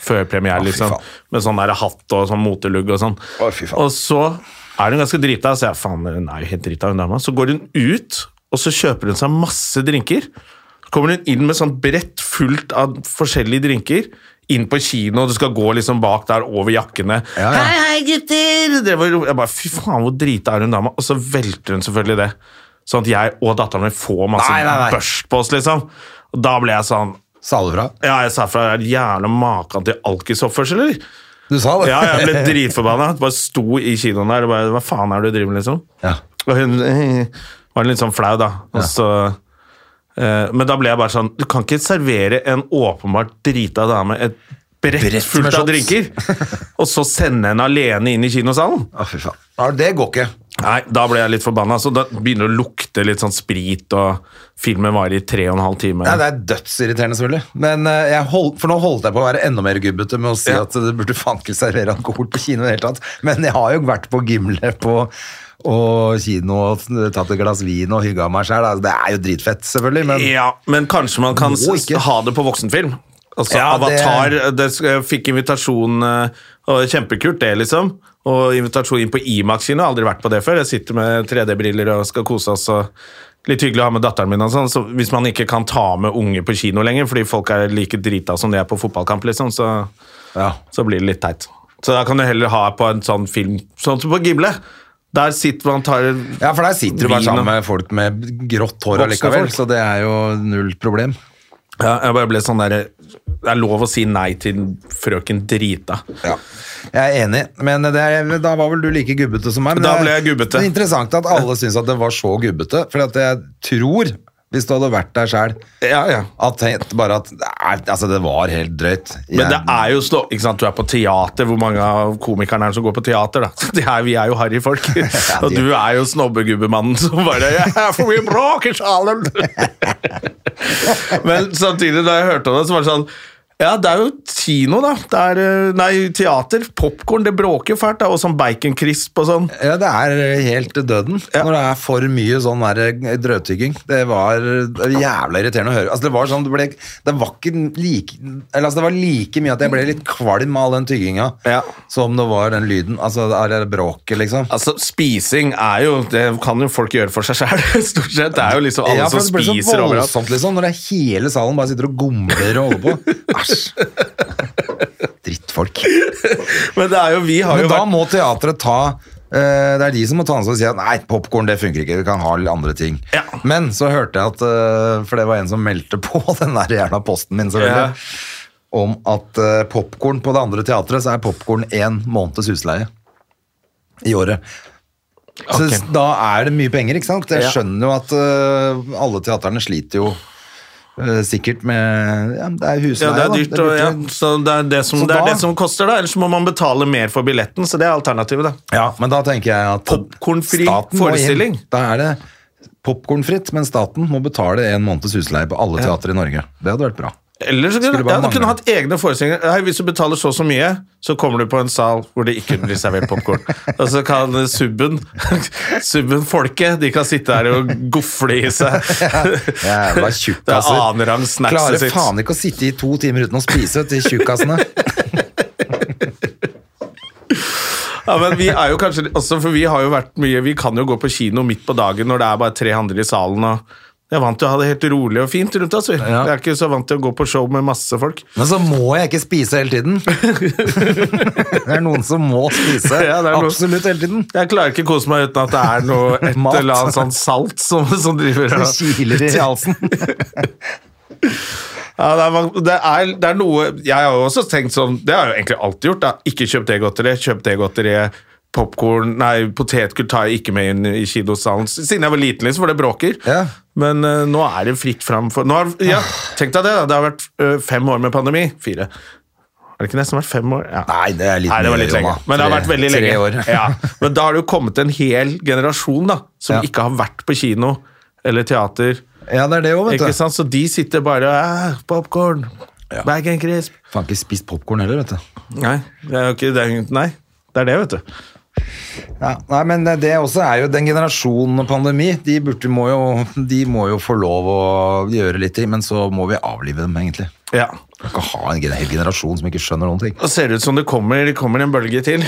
S1: før premiere,
S2: Å, fy
S1: liksom.
S2: faen.
S1: Med sånn der hatt og sånn motelugg og sånn.
S2: Å, fy faen.
S1: og så er hun ganske drita, så jeg faen, hun er jo helt drita, hun dama. Så går hun ut, og så kjøper hun seg masse drinker. Så kommer hun inn med sånn brett fullt av forskjellige drinker. Inn på kino, og du skal gå liksom bak der over jakkene.
S2: Ja, ja.
S1: Hei, hei, gutter! Det var, jeg bare, Fy faen, hvor drita er hun dama? Og så velter hun selvfølgelig det. Sånn at jeg og datteren min får masse
S2: Nei, nei, nei.
S1: børst på oss, liksom. Og da ble jeg sånn
S2: Salefra.
S1: Ja, jeg sa fra er det jævla maken til alkisoppførsel, eller?
S2: Du sa det?
S1: [laughs] Ja, jeg ble dritforbanna. Bare sto i kinoen der og bare Hva faen er det du driver med, liksom?
S2: [laughs] Ja.
S1: Og hun eh, var litt sånn flau, da. Og så, eh, men da ble jeg bare sånn Du kan ikke servere en åpenbart drita dame et brett,
S2: Brett med
S1: fullt av
S2: shots. [laughs]
S1: drinker, og så sende henne alene inn i kinosalen.
S2: Å, fy faen. Ja, Det går ikke.
S1: Nei, da ble jeg litt forbanna. Så da begynner det å lukte litt sånn sprit, og filmen varer i tre og en halv time.
S2: Nei, det er dødsirriterende, selvfølgelig. Men eh, jeg holdt, for nå holdt jeg på å være enda mer gubbete med å si
S1: Ja.
S2: at det burde faen ikke servere alkohol på kino i det hele tatt. Men jeg har jo vært på Gimle på og kino og tatt et glass vin og hygga meg sjæl. Det er jo dritfett, selvfølgelig, men
S1: Ja, men kanskje man kan
S2: Må
S1: s-
S2: ikke.
S1: ha det på voksenfilm. Altså,
S2: Ja, det-
S1: Avatar det... sk- fikk invitasjon eh, og Kjempekult, det, liksom. Og invitasjon inn på Imax-kino. Aldri vært på det før. Jeg sitter med 3D-briller og skal kose oss. og Litt hyggelig å ha med datteren min. og sånn, så Hvis man ikke kan ta med unge på kino lenger, fordi folk er like drita som de er på fotballkamp, liksom, så
S2: ja.
S1: så blir det litt teit. Så da kan du heller ha på en sånn film, sånn som på Gible. Der sitter man tar
S2: Ja, for der sitter du bare
S1: Vin og-
S2: sammen med folk med grått hår
S1: Voksne
S2: allikevel,
S1: folk.
S2: så det er jo null problem.
S1: ja, Jeg bare ble sånn derre Det er lov å si nei til frøken Drita.
S2: Jeg er enig, men det er, da var vel du like gubbete som meg. Men
S1: Da
S2: det er-
S1: ble jeg gubbete.
S2: Det er interessant at
S1: [laughs]
S2: alle syns at det var så gubbete, for at jeg tror, hvis du hadde vært der sjæl,
S1: Ja, ja.
S2: at tenkt bare at nei, altså det var helt drøyt. Jeg,
S1: Men det er jo slå... Ikke sant, du er på teater. Hvor mange av komikerne er det som går på teater, da? [laughs] Det er, vi er jo [laughs] harryfolk. Og du er jo snobbegubbe-mannen som bare [laughs] «Jeg er for mye bråk i salen! [laughs] Men samtidig, da jeg hørte om det, så var det sånn ja, det er jo kino, da. Det er, eh, nei, teater. Popkorn, det bråker jo fælt. da, Og sånn baconcrisp og sånn.
S2: ja, det er helt døden
S1: Ja.
S2: når det er for mye sånn der drøvtygging. Det var jævla irriterende å høre. Altså, det var sånn, det ble, det var ikke like, eller, altså, det var like mye at jeg ble litt kvalm av all den tygginga
S1: Ja.
S2: som det var den lyden, altså det er bråket liksom.
S1: Altså, Spising er jo Det kan jo folk gjøre for seg sjæl, [laughs] stort sett. Det er jo liksom alle
S2: Ja, for
S1: som
S2: det ble så
S1: spiser overalt.
S2: voldsomt liksom, når det er hele salen bare sitter og gomler og holder
S1: [laughs]
S2: på. Æsj. Drittfolk.
S1: Men det er jo, vi har
S2: Men
S1: jo
S2: da
S1: vært
S2: må teatret ta eh, Det er de som må ta ansvar og si at nei, popkorn det funker ikke, vi kan ha litt andre ting.
S1: Ja.
S2: Men så hørte jeg at eh, For det var en som meldte [laughs] på den der jævla posten min, selvfølgelig.
S1: Ja.
S2: Om at uh, popkorn på det andre teatret, så er popkorn én måneds husleie i året. Så
S1: Ok.
S2: s- da er det mye penger, ikke sant? Jeg
S1: Ja.
S2: skjønner jo at eh, alle teaterne sliter jo eh, sikkert med ja, Det er
S1: Ja,
S2: husleie,
S1: det er
S2: da.
S1: dyrt.
S2: Det
S1: og,
S2: burde-
S1: ja. Så det er det som,
S2: Så
S1: det, er
S2: da-
S1: det som koster, da. Ellers må man betale mer for billetten, så det er alternativet, da.
S2: Ja, men da tenker jeg at
S1: Popcornfri
S2: staten må inn.
S1: forestilling.
S2: Da er det popkornfritt, men staten må betale en måneds husleie på alle teater i Norge. Det hadde vært bra.
S1: Eller så kunne,
S2: Skulle bare
S1: ja, du kunne
S2: mangle.
S1: hatt egne forestillinger. Hei, hvis du betaler så og så mye, så kommer du på en sal hvor det ikke blir servert [laughs] popkorn. og så kan eh, subben, [laughs] subben folket, de kan sitte der og gofle i [laughs] seg
S2: Jævla
S1: [laughs] det er altså.
S2: tjukkaser.
S1: annenrangs snackset
S2: Klarer
S1: sitt.
S2: faen ikke å sitte i to timer uten å spise til
S1: [laughs]
S2: tjukkasene.
S1: Ja, men vi er jo kanskje også, for vi har jo vært mye Vi kan jo gå på kino midt på dagen når det er bare tre andre i salen. og jeg er vant til å ha det helt rolig og fint rundt oss. vi.
S2: Ja.
S1: Jeg er ikke så vant til å gå på show med masse folk.
S2: Men så må jeg ikke spise hele
S1: [laughs]
S2: tiden. Det er noen som må spise
S1: Ja, det er noen-
S2: absolutt hele tiden.
S1: Jeg klarer ikke å kose meg uten at det er noe
S2: [laughs]
S1: et
S2: Mat.
S1: eller annet sånn salt som, som driver
S2: [laughs] Det
S1: og
S2: kiler i halsen.
S1: ja, det, er, mang- det, er, det er noe Jeg har jo også tenkt sånn Det har jeg jo egentlig alltid gjort. Da. Ikke kjøp det godteriet, kjøp det godteriet. Popkorn Nei, potetgull tar jeg ikke med inn i kinosalen. Siden jeg var liten, liksom, for det bråker.
S2: Ja. Ah.
S1: Men eh, nå eh, er det fritt fram for nå har, ja, Tenk deg det, da. Det har vært ø, fem år med pandemi. Fire. Er det ikke nesten vært fem år? Ja.
S2: Nei, det er litt
S1: [laughs] Nei, det var
S2: mye,
S1: litt lenge.
S2: Jonna.
S1: Men det har
S2: Tre-
S1: vært veldig
S2: tre
S1: lenge.
S2: år.
S1: ja. Men da har det jo kommet en hel generasjon da, som
S2: Ja.
S1: ikke har vært på kino eller teater.
S2: Ja, det er det òg, vet
S1: Ikke
S2: du.
S1: sant? Så de sitter bare og Popkorn! Bag and crisp!
S2: Faen, ikke spist popkorn heller, vet du.
S1: Nei, det er jo ikke det. er- Nei, det er det, vet du.
S2: Ja, nei, men det også er jo den generasjonen pandemi. De, burde, må jo, de må jo få lov å gjøre litt ting, men så må vi avlive dem, egentlig.
S1: Ja.
S2: Vi kan ikke ha en gen- hel generasjon som ikke skjønner noen ting.
S1: Da ser det ut som det kommer, det kommer en bølge til.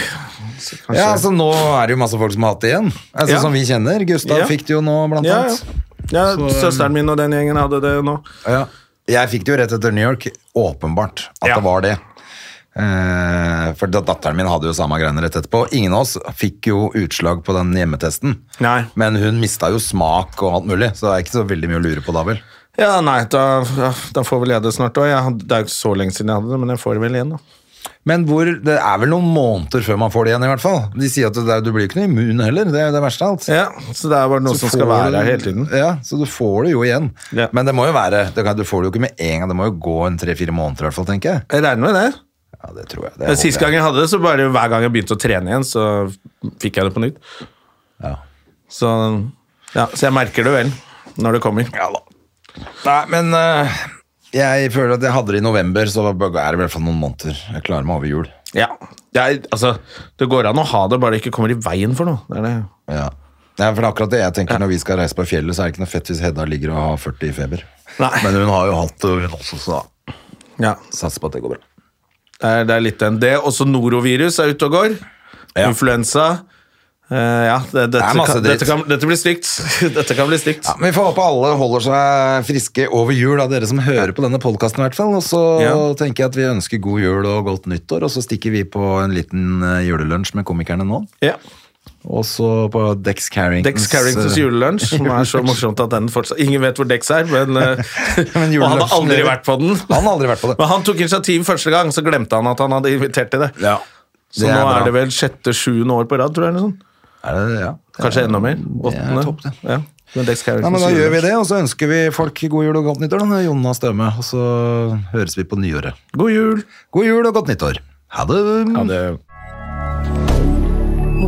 S1: Så kanskje-
S2: Ja, altså Nå er det jo masse folk som har hatt det igjen. Altså
S1: Ja.
S2: Som vi kjenner. Gustav
S1: Ja.
S2: fikk det jo nå, blant
S1: ja, ja.
S2: annet.
S1: ja søsteren min og den gjengen hadde det nå.
S2: Ja. Jeg fikk det jo rett etter New York. Åpenbart at
S1: Ja.
S2: det var det. Eh, for da- datteren min hadde jo samme greiene rett etterpå. Ingen av oss fikk jo utslag på den hjemmetesten.
S1: Nei.
S2: Men hun mista jo smak og alt mulig, så det er ikke så veldig mye å lure på da vel.
S1: Ja, nei, da, ja, da får vel jeg det snart òg. Det er jo ikke så lenge siden jeg hadde det, men jeg får det vel igjen, da.
S2: Men hvor, det er vel noen måneder før man får det igjen, i hvert fall. De sier at det, er- du blir jo ikke noe immun heller, det er jo det verste av alt.
S1: Ja, Så det er bare noe
S2: Så
S1: som skal
S2: får
S1: være
S2: du-
S1: her hele tiden.
S2: Ja, så du får det jo igjen.
S1: Ja.
S2: Men det må jo være det kan, Du får det jo ikke med en gang, det må jo gå en tre-fire måneder i hvert fall, tenker jeg.
S1: Jeg regner med det.
S2: Ja, det tror jeg. Det
S1: Men
S2: håper
S1: Sist
S2: jeg.
S1: gang jeg hadde det, så bare hver gang jeg begynte å trene igjen, så fikk jeg det på nytt.
S2: Ja.
S1: Så, ja, så jeg merker det vel når det kommer. Ja da.
S2: Nei, men eh, jeg føler at jeg hadde det i november, så er det i hvert fall noen måneder. Jeg klarer meg over jul.
S1: Ja. Det, er, altså, det går an å ha det, bare det ikke kommer i veien for noe. Det er det.
S2: Ja. ja, for det er akkurat det jeg tenker når vi skal reise på fjellet, så er det ikke noe fett hvis Hedda ligger og har 40 i feber.
S1: Nei.
S2: Men hun har jo hatt det, hun også, så
S1: Ja.
S2: satser på at det går bra.
S1: Det, er, det er litt den. Det, også norovirus er ute og går.
S2: Ja.
S1: Influensa. Eh, ja, det, dette,
S2: er masse
S1: kan,
S2: dritt.
S1: dette, kan, dette blir stygt. [laughs] dette kan bli stygt.
S2: Ja, men Vi får håpe alle holder seg friske over jul, da, dere som hører på denne podkasten. Og så
S1: Ja.
S2: tenker jeg at vi ønsker god jul og godt nyttår, og så stikker vi på en liten eh, julelunsj med komikerne nå.
S1: Ja.
S2: Og så på Dex Carringtons,
S1: Dex Carringtons
S2: eh,
S1: julelunsj, som er [laughs] så morsomt at den fortsatt Ingen vet hvor Dex er, men, [laughs] eh,
S2: Men
S1: Og han har
S2: julelunsjen
S1: aldri
S2: lever.
S1: vært på den.
S2: Han har aldri vært på det.
S1: Men [laughs] han tok initiativ første gang, så glemte han at han hadde invitert til det.
S2: Ja.
S1: Så
S2: Det
S1: nå
S2: bra.
S1: er det vel sjette-sjuende år på rad, tror jeg. Eller sånn.
S2: Er det, det? ja. Det
S1: Kanskje
S2: er-
S1: enda mer.
S2: Det er
S1: Åttende.
S2: topp, det.
S1: Ja. Men Dex Carringtons
S2: Ja, men Da gjør vi
S1: julelunsj.
S2: det, og så ønsker vi folk god jul og godt nyttår. Da, Jonas Støme, og så høres vi på nyåret.
S1: God jul!
S2: God jul og godt nyttår. Ha det.
S1: Ja, det